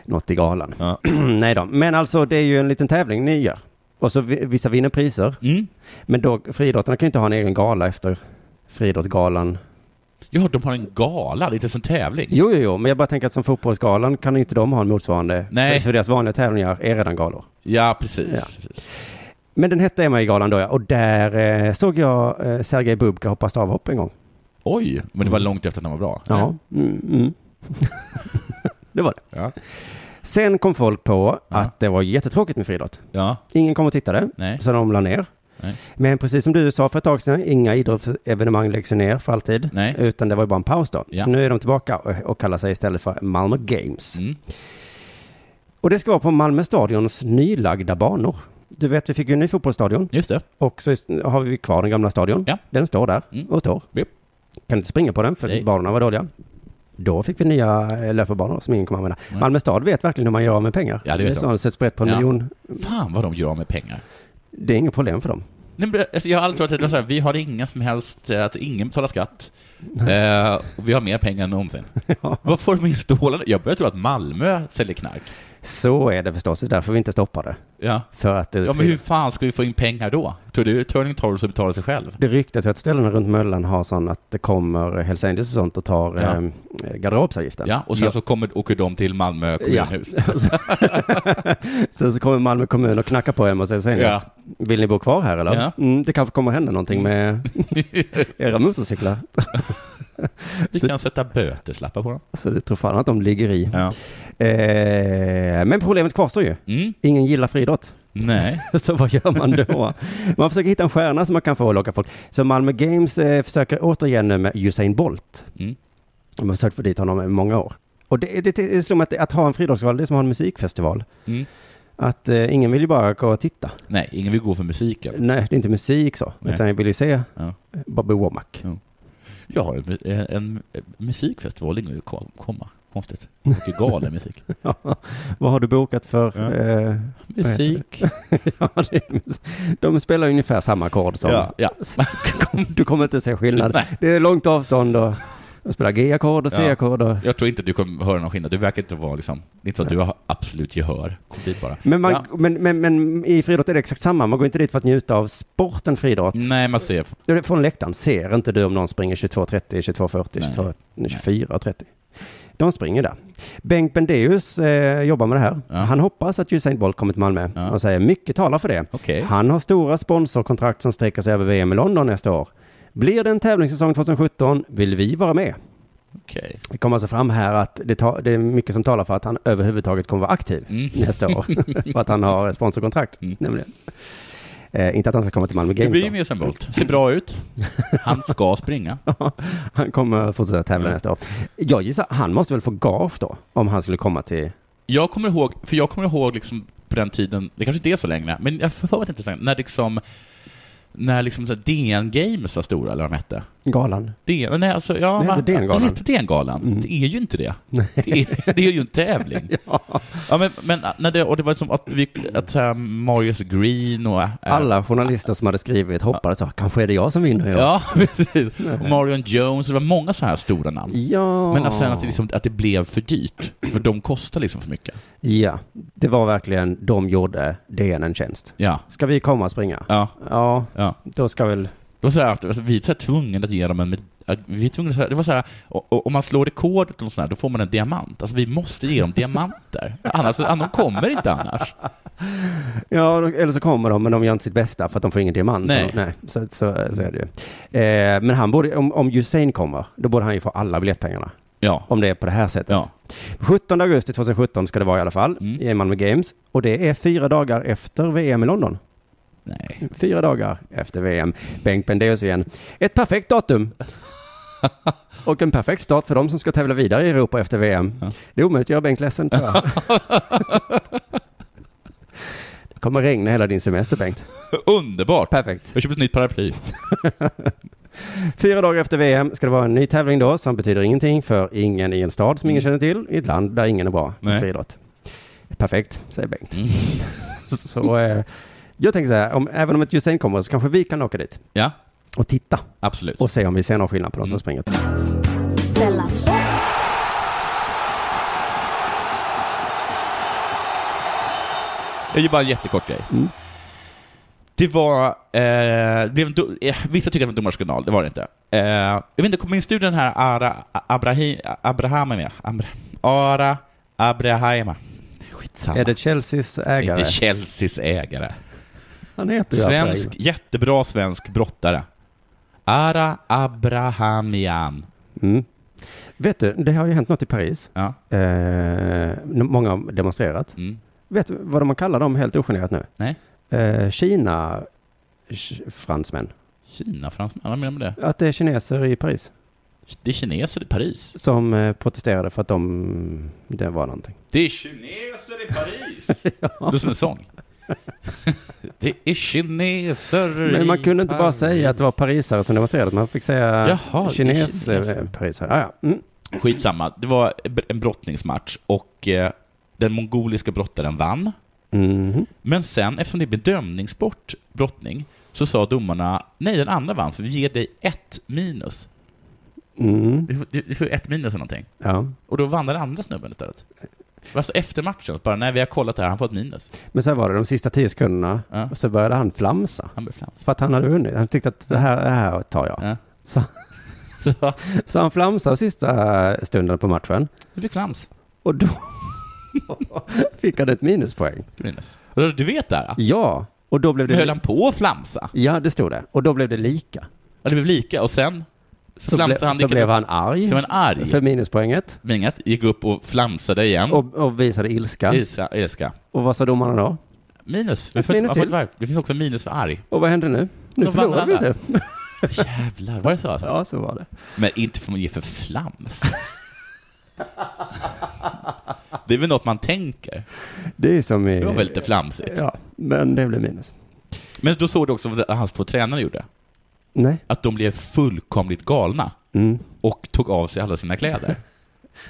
[SPEAKER 5] något i galan. Nej då, men alltså det är ju en liten tävling ni gör. Och så vi- vissa vinner priser.
[SPEAKER 7] Mm.
[SPEAKER 5] Men då, friidrottarna kan ju inte ha en egen gala efter friidrottsgalan.
[SPEAKER 7] Ja, de har en gala, det är inte ens en tävling.
[SPEAKER 5] Jo, jo, jo, men jag bara tänker att som fotbollsgalan kan ju inte de ha en motsvarande.
[SPEAKER 7] Nej.
[SPEAKER 5] För deras vanliga tävlingar är redan galor.
[SPEAKER 7] Ja, precis.
[SPEAKER 5] Ja.
[SPEAKER 7] precis.
[SPEAKER 5] Men den hette MI-galan då ja, och där eh, såg jag eh, Sergej Bubka hoppa stavhopp en gång.
[SPEAKER 7] Oj, men det var långt efter att den var bra.
[SPEAKER 5] Ja, mm, mm. det var det. Sen kom folk på att det var jättetråkigt med friidrott.
[SPEAKER 7] Ja.
[SPEAKER 5] Ingen kom och tittade,
[SPEAKER 7] Nej.
[SPEAKER 5] så de la ner.
[SPEAKER 7] Nej.
[SPEAKER 5] Men precis som du sa för ett tag sedan, inga idrottsevenemang läggs ju ner för alltid.
[SPEAKER 7] Nej.
[SPEAKER 5] Utan det var ju bara en paus då.
[SPEAKER 7] Ja. Mm.
[SPEAKER 5] Så nu är de tillbaka och, och kallar sig istället för Malmö Games. Och det ska vara på Malmö Stadions nylagda banor. Du vet, vi fick ju en ny fotbollsstadion.
[SPEAKER 7] Just det.
[SPEAKER 5] Och så ist- har vi kvar
[SPEAKER 7] Mm.
[SPEAKER 5] den gamla stadion. Den står där och står. Kan inte springa på den för banorna var dåliga. Då fick vi nya eh, löparbanor som ingen kommer använda.
[SPEAKER 7] Nej.
[SPEAKER 5] Malmö stad vet verkligen hur man gör av med pengar.
[SPEAKER 7] Ja, det vet
[SPEAKER 5] är
[SPEAKER 7] de.
[SPEAKER 5] så de sätts brett på en
[SPEAKER 7] Ja.
[SPEAKER 5] miljon.
[SPEAKER 7] Fan vad de gör av med pengar.
[SPEAKER 5] Det är inget problem för dem.
[SPEAKER 7] Nej, men, alltså, jag har alltid varit lite så här, vi har ingen som helst, eh, att ingen betalar skatt. Eh, och vi har mer pengar än någonsin. Vad får de in stålarna? Jag börjar tro att Malmö säljer knark.
[SPEAKER 5] Så är det förstås, det är därför vi inte stoppar det.
[SPEAKER 7] Ja.
[SPEAKER 5] För att det,
[SPEAKER 7] Ja, men hur fan ska vi få in pengar då? Tror du Turning Torso betalar sig själv?
[SPEAKER 5] det ryktas ju att ställena runt Möllan har sån att det kommer Hells Angels och sånt och tar
[SPEAKER 7] Ja.
[SPEAKER 5] eh, garderobsavgiften.
[SPEAKER 7] Ja, och sen så kommer, åker de till Malmö kommunhus.
[SPEAKER 5] Sen så kommer Malmö kommun och knackar på hem och säger sen
[SPEAKER 7] Ja.
[SPEAKER 5] vill ni bo kvar här eller?
[SPEAKER 7] Ja.
[SPEAKER 5] Mm, det kanske kommer hända någonting med era motorcyklar.
[SPEAKER 7] Vi
[SPEAKER 5] Så-
[SPEAKER 7] kan sätta böterslappar på dem.
[SPEAKER 5] Så det tror fan att de ligger i. Eh, men problemet kvarstår ju. Ingen gillar friidrott.
[SPEAKER 7] Mm. Nej.
[SPEAKER 5] så vad gör man då? Man försöker hitta en stjärna som man kan få och locka folk. Så Malmö Games eh, försöker återigen nu med Usain Bolt.
[SPEAKER 7] Mm.
[SPEAKER 5] De har försökt få dit honom i många år. Och det, det, det slog mig att, att ha en friidrottsfestival, det är som att ha en musikfestival.
[SPEAKER 7] Mm.
[SPEAKER 5] Att eh, ingen vill ju bara gå och titta.
[SPEAKER 7] Nej, ingen vill gå för musiken.
[SPEAKER 5] Nej, det är inte musik så,
[SPEAKER 7] Nej.
[SPEAKER 5] utan jag vill ju se
[SPEAKER 7] Ja.
[SPEAKER 5] Bobby Womack.
[SPEAKER 7] Jag har en, eh, en, en musikfestival, ingen vill kom- komma. Konstigt. Mycket galen musik.
[SPEAKER 5] Vad har du bokat för?
[SPEAKER 7] Ja.
[SPEAKER 5] eh, vad heter
[SPEAKER 7] Musik.
[SPEAKER 5] det? ja, det är mus- de spelar ungefär samma ackord som...
[SPEAKER 7] Ja, ja.
[SPEAKER 5] du kommer inte se skillnad. Det är långt avstånd och de spelar G-ackord och C-ackord. och-
[SPEAKER 7] Jag tror inte du kommer höra någon skillnad. Du verkar inte vara liksom, det är inte så att du har absolut gehör. Kom dit bara.
[SPEAKER 5] Men, man,
[SPEAKER 7] Ja.
[SPEAKER 5] men, men, men i friidrott är det exakt samma. Man går inte dit för att njuta av sporten friidrott.
[SPEAKER 7] Nej, man ser.
[SPEAKER 5] Det är Från läktaren ser inte du om någon springer 22.30, 22.40, 22, 24.30. De springer där. Bengt Bendeus eh, jobbar med det här. Han hoppas att Usain Bolt kommer till Malmö och säger mycket talar för det. Han har stora sponsorkontrakt som sträcker sig över VM i London nästa år. Blir det en tävlingssäsong 2017 vill vi vara med.
[SPEAKER 7] Okej.
[SPEAKER 5] Det kommer alltså fram här att det, ta, det är mycket som talar för att han överhuvudtaget kommer vara aktiv
[SPEAKER 7] Mm.
[SPEAKER 5] nästa år. för att han har sponsorkontrakt, nämligen. Eh, inte att han ska komma till Malmö
[SPEAKER 7] Det
[SPEAKER 5] Games.
[SPEAKER 7] blir ju
[SPEAKER 5] då.
[SPEAKER 7] mer som Bolt. Ser bra ut. Han ska springa.
[SPEAKER 5] Han kommer fortsätta tävla nästa år. Jag gissar, han måste väl få gage då, om han skulle komma till...
[SPEAKER 7] Jag kommer ihåg, för jag kommer ihåg liksom på den tiden, det kanske inte är så länge, men jag får för mig att det inte är så länge, när liksom, när liksom så här DN Games var stora, eller vad de hette.
[SPEAKER 5] Galan.
[SPEAKER 7] DN, nej alltså, ja,
[SPEAKER 5] Det Mm. hette
[SPEAKER 7] va?
[SPEAKER 5] DN-galan.
[SPEAKER 7] Det hette DN-galan. Det är ju inte det. Det är, det är ju en tävling. ja. men, men när det, och det var som att, vi, att så här, Marius Green och... äh,
[SPEAKER 5] Alla journalister som hade skrivit hoppades att kanske är det jag som vinner i år.
[SPEAKER 7] Ja, precis. Och Marion Jones, det var många så här stora namn.
[SPEAKER 5] Ja.
[SPEAKER 7] Men att sen att det, liksom, att det blev för dyrt, för de kostar liksom för mycket.
[SPEAKER 5] Ja, det var verkligen, de gjorde DN en tjänst.
[SPEAKER 7] Ja.
[SPEAKER 5] Ska vi komma och springa?
[SPEAKER 7] Ja.
[SPEAKER 5] Ja,
[SPEAKER 7] Ja.
[SPEAKER 5] då ska väl...
[SPEAKER 7] Det var så här, att, alltså, vi är så här tvungna att ge dem en med- att vi är tvungna, att- det var så här, och, och, om man slår rekordet och sånt här, då får man en diamant. Alltså vi måste ge dem diamanter. Annars, annars de kommer inte annars.
[SPEAKER 5] Ja, då- eller så kommer de, men de gör inte sitt bästa för att de får ingen diamant.
[SPEAKER 7] Nej.
[SPEAKER 5] Nej så, så, så är det ju. Eh, men han borde, om, om Usain kommer, då borde han ju få alla biljettpengarna.
[SPEAKER 7] Ja.
[SPEAKER 5] Om det är på det här sättet. 17 augusti 2017 ska det vara i alla fall, i Malmö Games. Och det är fyra dagar efter VM i London.
[SPEAKER 7] Nej.
[SPEAKER 5] Fyra dagar efter VM. Bengt Bendeus igen. Ett perfekt datum. Och en perfekt start för de som ska tävla vidare i Europa efter VM. Det är omöjligt att göra Bengt ledsen tror jag. Det kommer regna hela din semester Bengt.
[SPEAKER 7] Underbart!
[SPEAKER 5] Perfekt.
[SPEAKER 7] Jag köpte ett nytt paraply.
[SPEAKER 5] Fyra dagar efter VM ska det vara en ny tävling då som betyder ingenting för ingen i en stad som ingen känner till, i ett land där ingen är bra i
[SPEAKER 7] Mm. Nej. Mm.
[SPEAKER 5] friidrott. Perfekt, säger Bengt. så eh, jag tänker så här, om, även om ett Usain kommer så kanske vi kan åka dit
[SPEAKER 7] Ja,
[SPEAKER 5] och titta
[SPEAKER 7] absolut.
[SPEAKER 5] och se om vi ser någon skillnad på de
[SPEAKER 7] Mm.
[SPEAKER 5] som springer.
[SPEAKER 12] Della Sport.
[SPEAKER 7] Jag gör bara en jättekort grej.
[SPEAKER 5] Mm.
[SPEAKER 7] Det var... Eh, det blev en do- eh, vissa tycker att det var en domarskandal, det var det inte. Eh, jag vet inte, kom min studie den här Ara Abrahi, Abraham med? Abra, Ara Abrahama. Skitsamma.
[SPEAKER 5] Är det Chelseas ägare?
[SPEAKER 7] Inte Chelseas ägare.
[SPEAKER 5] Han heter ju
[SPEAKER 7] Svensk,
[SPEAKER 5] Abraham.
[SPEAKER 7] jättebra svensk brottare. Ara Abrahamian.
[SPEAKER 5] Mm. Vet du, det har ju hänt något i Paris. Eh, n- många har demonstrerat.
[SPEAKER 7] Mm.
[SPEAKER 5] Vet du vad de kallar dem helt ogenerat nu?
[SPEAKER 7] Nej.
[SPEAKER 5] Eh, Kina sh- fransmän.
[SPEAKER 7] Kina-fransman, vad menar du med det?
[SPEAKER 5] Att det är kineser i Paris
[SPEAKER 7] Det är kineser i Paris.
[SPEAKER 5] som eh, protesterade för att de, det var någonting.
[SPEAKER 7] Det är kineser i Paris! Det låter som en sång. det är kineser
[SPEAKER 5] Men man
[SPEAKER 7] i
[SPEAKER 5] kunde inte bara
[SPEAKER 7] Paris.
[SPEAKER 5] säga att det var parisare som demonstrerade, man fick säga
[SPEAKER 7] Jaha, det är
[SPEAKER 5] kines,
[SPEAKER 7] kineser.
[SPEAKER 5] eh, parisare. Ah, ja. mm.
[SPEAKER 7] Skitsamma, det var en brottningsmatch och eh, den mongoliska brottaren vann.
[SPEAKER 5] Mm-hmm.
[SPEAKER 7] Men sen, eftersom det är bedömningssport, brottning, så sa domarna nej, den andra vann, för vi ger dig ett minus.
[SPEAKER 5] Mm.
[SPEAKER 7] Du får, du, du får ett minus eller någonting.
[SPEAKER 5] Ja.
[SPEAKER 7] Och då vann den andra snubben istället. Alltså efter matchen, bara nej, vi har kollat det här, han får ett minus.
[SPEAKER 5] Men sen var det de sista tio sekunderna, och så började han flamsa.
[SPEAKER 7] Han började flamsa.
[SPEAKER 5] För att han hade vunnit. Han tyckte att det här, det här tar jag. Så, så han flamsade sista eh, stunden på matchen.
[SPEAKER 7] Du fick flams.
[SPEAKER 5] Och då fick han ett minuspoäng.
[SPEAKER 7] Minus. Och Du vet det här?
[SPEAKER 5] Ja, och då blev det...
[SPEAKER 7] Men höll han på att flamsa?
[SPEAKER 5] Ja, det stod det. Och då blev det lika.
[SPEAKER 7] Ja, det blev lika, och sen så,
[SPEAKER 5] Så, ble,
[SPEAKER 7] flamsade han
[SPEAKER 5] så
[SPEAKER 7] lika-
[SPEAKER 5] blev han arg.
[SPEAKER 7] Så blev han arg.
[SPEAKER 5] För minuspoänget.
[SPEAKER 7] Mingat gick upp och flamsade igen.
[SPEAKER 5] Och, och visade ilska.
[SPEAKER 7] Ilska, ilska.
[SPEAKER 5] Och vad sa domarna då?
[SPEAKER 7] Minus.
[SPEAKER 5] Ett minus till.
[SPEAKER 7] Det finns också minus för arg.
[SPEAKER 5] Och vad hände nu? Nu
[SPEAKER 7] Så vann
[SPEAKER 5] förlorade vi
[SPEAKER 7] alla.
[SPEAKER 5] det.
[SPEAKER 7] Jävlar, var det så? Alltså?
[SPEAKER 5] Ja, så var det.
[SPEAKER 7] Men inte får man ge för flams. det är väl något man tänker.
[SPEAKER 5] Det är som i...
[SPEAKER 7] Det var väl lite flamsigt.
[SPEAKER 5] Ja, men det blev minus.
[SPEAKER 7] Men då såg du också vad hans två tränare gjorde?
[SPEAKER 5] Nej.
[SPEAKER 7] Att de blev fullkomligt galna
[SPEAKER 5] Mm.
[SPEAKER 7] och tog av sig alla sina kläder.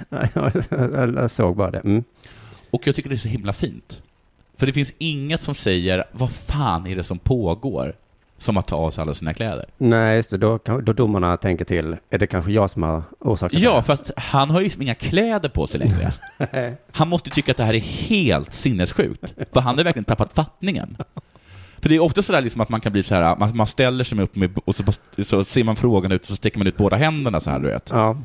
[SPEAKER 5] Nej, jag, jag, jag såg bara det. Mm.
[SPEAKER 7] Och jag tycker det är så himla fint. För det finns inget som säger vad fan är det som pågår som att ta av sig alla sina kläder.
[SPEAKER 5] Nej, just det. Då, kan- då domarna tänker till. Är det kanske jag som har orsakat
[SPEAKER 7] Ja, fast han har ju liksom inga kläder på sig längre.
[SPEAKER 5] det?
[SPEAKER 7] Han måste tycka att det här är helt sinnessjukt, för han har verkligen tappat fattningen. För det är ofta sådär liksom att man kan bli så här, man, man ställer sig upp med, och så, bara- så ser man frågan ut och så sticker man ut båda händerna så här, du vet.
[SPEAKER 5] Ja.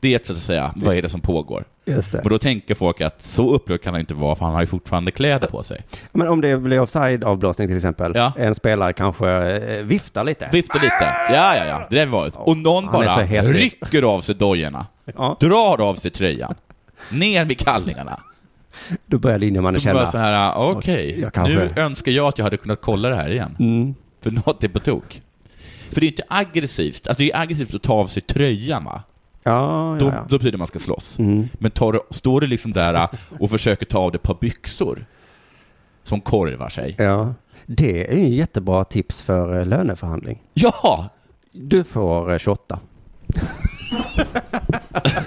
[SPEAKER 7] Det är ett sätt att säga, vad är det som pågår?
[SPEAKER 5] Just det.
[SPEAKER 7] Och då tänker folk att så upprörd kan han inte vara, för han har ju fortfarande kläder på sig.
[SPEAKER 5] Men om det blir offside-avblåsning till exempel. En spelare kanske eh, viftar lite.
[SPEAKER 7] Viftar lite. Ja, ja, ja. Det där var det. Och någon
[SPEAKER 5] Han är så
[SPEAKER 7] bara
[SPEAKER 5] het.
[SPEAKER 7] rycker av sig dojorna. Drar av sig tröjan. Ner med kallingarna.
[SPEAKER 5] Då börjar linjemannen
[SPEAKER 7] Då bara
[SPEAKER 5] känna.
[SPEAKER 7] så här, ah, okej,
[SPEAKER 5] Jag Mm. kanske-
[SPEAKER 7] nu önskar jag att jag hade kunnat kolla det här igen. För något är på tok. För det är inte aggressivt, alltså det är aggressivt att ta av sig tröjan va?
[SPEAKER 5] Ja,
[SPEAKER 7] Då,
[SPEAKER 5] ja, ja.
[SPEAKER 7] då betyder det att man ska slåss.
[SPEAKER 5] Mm.
[SPEAKER 7] Men tar du, står du liksom där och försöker ta av dig ett par byxor som korvar sig.
[SPEAKER 5] Ja. Det är ju jättebra tips för eh, löneförhandling.
[SPEAKER 7] Ja!
[SPEAKER 5] Du får eh, 28.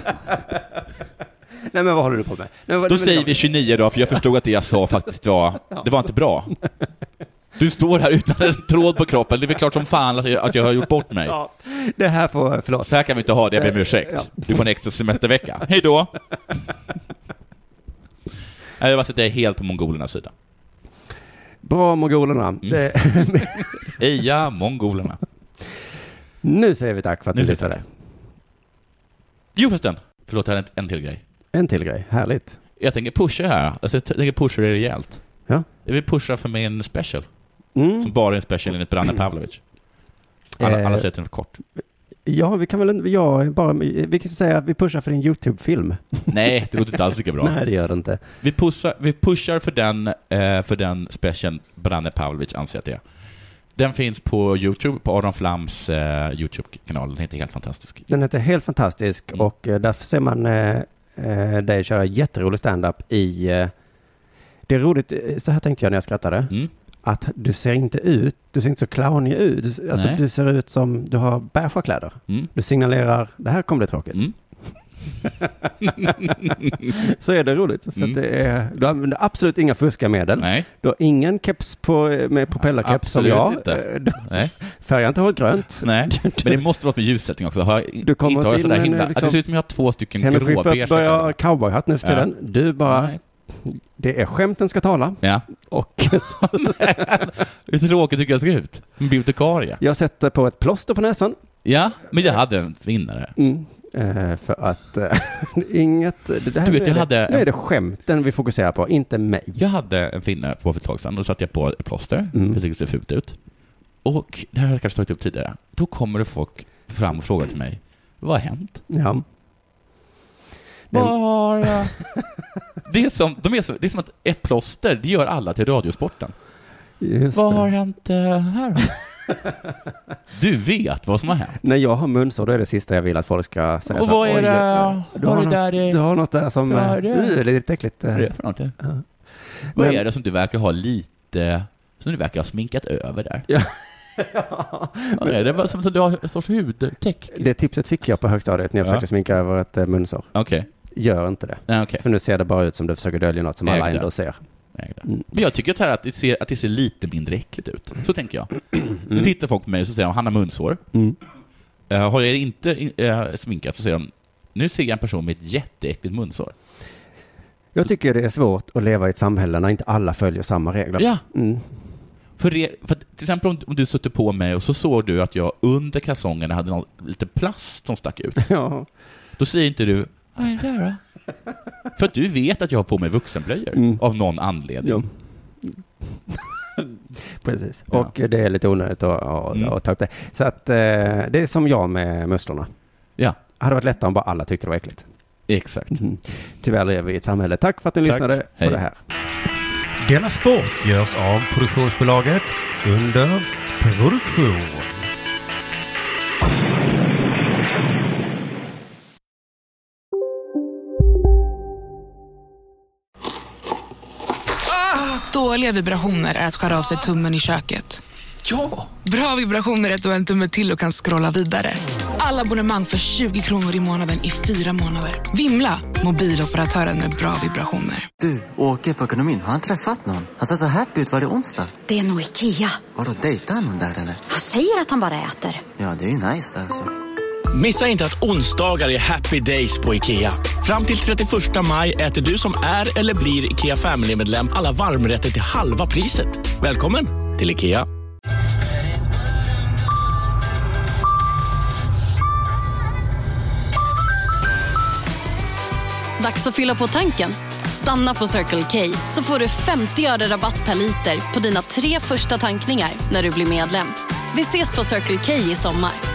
[SPEAKER 5] Nej, men vad håller du på med? Nej, vad-
[SPEAKER 7] Då
[SPEAKER 5] men-
[SPEAKER 7] säger vi 29 då, för jag förstod att det jag sa faktiskt var, det var inte bra. Du står här utan en tråd på kroppen, det är väl klart som fan att jag, att jag har gjort bort mig.
[SPEAKER 5] Det här får, eh, förlåt.
[SPEAKER 7] Så här kan vi inte ha det, jag ber om ursäkt. Du får en extra semestervecka. Hej då! Nej, Jag bara sitter helt på mongolernas sida.
[SPEAKER 5] Bra mongolerna.
[SPEAKER 7] Mm.
[SPEAKER 5] Det-
[SPEAKER 7] Eja mongolerna.
[SPEAKER 5] nu säger vi tack för att
[SPEAKER 7] Nu
[SPEAKER 5] ni
[SPEAKER 7] säger vi
[SPEAKER 5] lyssnade.
[SPEAKER 7] Jo förresten, förlåt, jag hade en, en till grej.
[SPEAKER 5] En till grej. Härligt.
[SPEAKER 7] Jag tänker pusha här, alltså, jag tänker pusha det rejält.
[SPEAKER 5] Ja.
[SPEAKER 7] Jag vill pusha för min special.
[SPEAKER 5] Mm.
[SPEAKER 7] Som bara är en special enligt Branne Pavlovic. Alla, alla
[SPEAKER 5] Eh.
[SPEAKER 7] säger att den är för kort.
[SPEAKER 5] Ja, vi kan väl ja, bara, vi kan säga att vi pushar för din YouTube-film.
[SPEAKER 7] Nej, det låter inte alls lika bra.
[SPEAKER 5] Nej, det gör det inte.
[SPEAKER 7] Vi, pushar, vi pushar för den, eh, för den special Branne Pavlovic anser att det är. Den finns på Youtube, på Aron Flams eh, Youtube-kanal. Den heter helt fantastisk.
[SPEAKER 5] Den heter Helt fantastisk
[SPEAKER 7] Mm.
[SPEAKER 5] och eh, där ser man eh, eh, dig köra jätterolig standup i... Eh, det är roligt, eh, så här tänkte jag när jag skrattade.
[SPEAKER 7] Mm,
[SPEAKER 5] Att du ser inte ut, du ser inte så clownig ut. Du, s- alltså,
[SPEAKER 7] Nej.
[SPEAKER 5] du ser ut som, du har beigea kläder.
[SPEAKER 7] Mm.
[SPEAKER 5] Du signalerar, det här kommer bli tråkigt. så är det roligt. Så att det är, du använder absolut inga fuskamedel.
[SPEAKER 7] Mm. Nej.
[SPEAKER 5] Du har ingen keps på, med propellerkeps som
[SPEAKER 7] Absolut
[SPEAKER 5] jag.
[SPEAKER 7] inte. Mm.
[SPEAKER 5] Eh, du-
[SPEAKER 7] Nej.
[SPEAKER 5] Färgar inte håret grönt.
[SPEAKER 7] Nej, men det måste vara något med ljussättning också. Har jag,
[SPEAKER 5] Du kommer
[SPEAKER 7] inte har jag
[SPEAKER 5] inte in
[SPEAKER 7] sådär
[SPEAKER 5] med en,
[SPEAKER 7] himla...
[SPEAKER 5] liksom-
[SPEAKER 7] det ser ut som jag har två stycken
[SPEAKER 5] Henrik Schyffert
[SPEAKER 7] gråbeiga
[SPEAKER 5] börjar ha cowboyhatt nu för
[SPEAKER 7] Ja.
[SPEAKER 5] tiden. Du bara, det är skämten ska tala.
[SPEAKER 7] Ja.
[SPEAKER 5] Och
[SPEAKER 7] Hur tråkigt tycker jag ser ut? En bibliotekarie.
[SPEAKER 5] jag sätter på ett plåster på näsan.
[SPEAKER 7] Ja, men jag hade en vinnare.
[SPEAKER 5] Mm. Eh, för att eh, inget, det här,
[SPEAKER 7] Du vet, jag
[SPEAKER 5] nu, är
[SPEAKER 7] hade-
[SPEAKER 5] det, nu är det skämten vi fokuserar på, inte mig.
[SPEAKER 7] Jag hade en finne på för ett tag sedan. Då satte jag på ett plåster.
[SPEAKER 5] Mm.
[SPEAKER 7] för Jag tyckte det ser fult ut. Och, det här har jag kanske tagit upp tidigare, då kommer det folk fram och frågar till mig, vad har hänt?
[SPEAKER 5] Ja.
[SPEAKER 7] Bara... Det är som, de är som, det är som att ett plåster, det gör alla till Radiosporten.
[SPEAKER 5] Just
[SPEAKER 7] Vad
[SPEAKER 5] det.
[SPEAKER 7] har hänt eh, här då? Du vet vad som har hänt.
[SPEAKER 5] När jag har munsår, då är det sista jag vill att folk ska säga.
[SPEAKER 7] Och
[SPEAKER 5] så här,
[SPEAKER 7] vad är
[SPEAKER 5] "Oj,
[SPEAKER 7] det?
[SPEAKER 5] eh, Du
[SPEAKER 7] Har
[SPEAKER 5] har,
[SPEAKER 7] du
[SPEAKER 5] något,
[SPEAKER 7] där i-
[SPEAKER 5] du har något där som
[SPEAKER 7] Vad är
[SPEAKER 5] är
[SPEAKER 7] det?
[SPEAKER 5] uh, är lite äckligt. eh."
[SPEAKER 7] Vad är det för något?
[SPEAKER 5] Ja.
[SPEAKER 7] Vad
[SPEAKER 5] Men-
[SPEAKER 7] är det som du verkar ha lite, som du verkar ha sminkat över där?
[SPEAKER 5] Ja.
[SPEAKER 7] Nej, det var som att du har en sorts hudtäck.
[SPEAKER 5] Det tipset fick jag på högstadiet när jag
[SPEAKER 7] Ja.
[SPEAKER 5] försökte sminka över ett eh, munsår.
[SPEAKER 7] Okej.
[SPEAKER 5] Gör inte det. För nu ser det bara ut som du försöker dölja något som alla
[SPEAKER 7] Ägda.
[SPEAKER 5] ändå ser.
[SPEAKER 7] Men jag tycker så här att, det ser, att det ser lite mindre äckligt ut. Så tänker jag. Nu tittar folk på mig och så säger de, han har munsår.
[SPEAKER 5] Mm.
[SPEAKER 7] Eh, har jag inte eh, sminkat så säger de, nu ser jag en person med ett jätteäckligt munsår.
[SPEAKER 5] Jag tycker det är svårt att leva i ett samhälle när inte alla följer samma regler.
[SPEAKER 7] Ja.
[SPEAKER 5] Mm.
[SPEAKER 7] För, re, för att, till exempel om, om du satte på mig och så såg du att jag under kalsongerna hade någon, lite plast som stack ut.
[SPEAKER 5] Ja.
[SPEAKER 7] Då säger inte du, Vad är det där då? för att du vet att jag har på mig vuxenblöjor av någon anledning.
[SPEAKER 5] Precis. Och det är lite onödigt att, att,
[SPEAKER 7] Mm.
[SPEAKER 5] att ta upp det. Så att eh, det är som jag med musslorna.
[SPEAKER 7] Ja.
[SPEAKER 5] Hade varit lättare om bara alla tyckte det var äckligt.
[SPEAKER 7] Exakt.
[SPEAKER 5] Tyvärr lever vi i ett samhälle. Tack för att ni
[SPEAKER 9] Tack.
[SPEAKER 5] lyssnade
[SPEAKER 9] Hej.
[SPEAKER 5] på det här.
[SPEAKER 9] Denna sport görs av produktionsbolaget under produktion.
[SPEAKER 13] Dåliga vibrationer är att skära av sig tummen i köket.
[SPEAKER 14] Ja!
[SPEAKER 13] Bra vibrationer är att du har en tumme till och kan scrolla vidare. Alla abonnemang för 20 kronor i månaden i fyra månader. Vimla! Mobiloperatören med bra vibrationer.
[SPEAKER 10] Du, åker på ekonomin. Har han träffat någon? Han ser så happy ut. Var det onsdag?
[SPEAKER 8] Det är nog Ikea.
[SPEAKER 10] Har du dejtat någon där eller?
[SPEAKER 8] Han säger att han bara äter.
[SPEAKER 10] Ja, det är ju nice där alltså.
[SPEAKER 15] Missa inte att onsdagar är happy days på IKEA. Fram till 31 maj äter du som är eller blir IKEA Family-medlem alla varmrätter till halva priset. Välkommen till IKEA.
[SPEAKER 6] Dags att fylla på tanken. Stanna på Circle K så får du 50 öre rabatt per liter på dina tre första tankningar när du blir medlem. Vi ses på Circle K i sommar.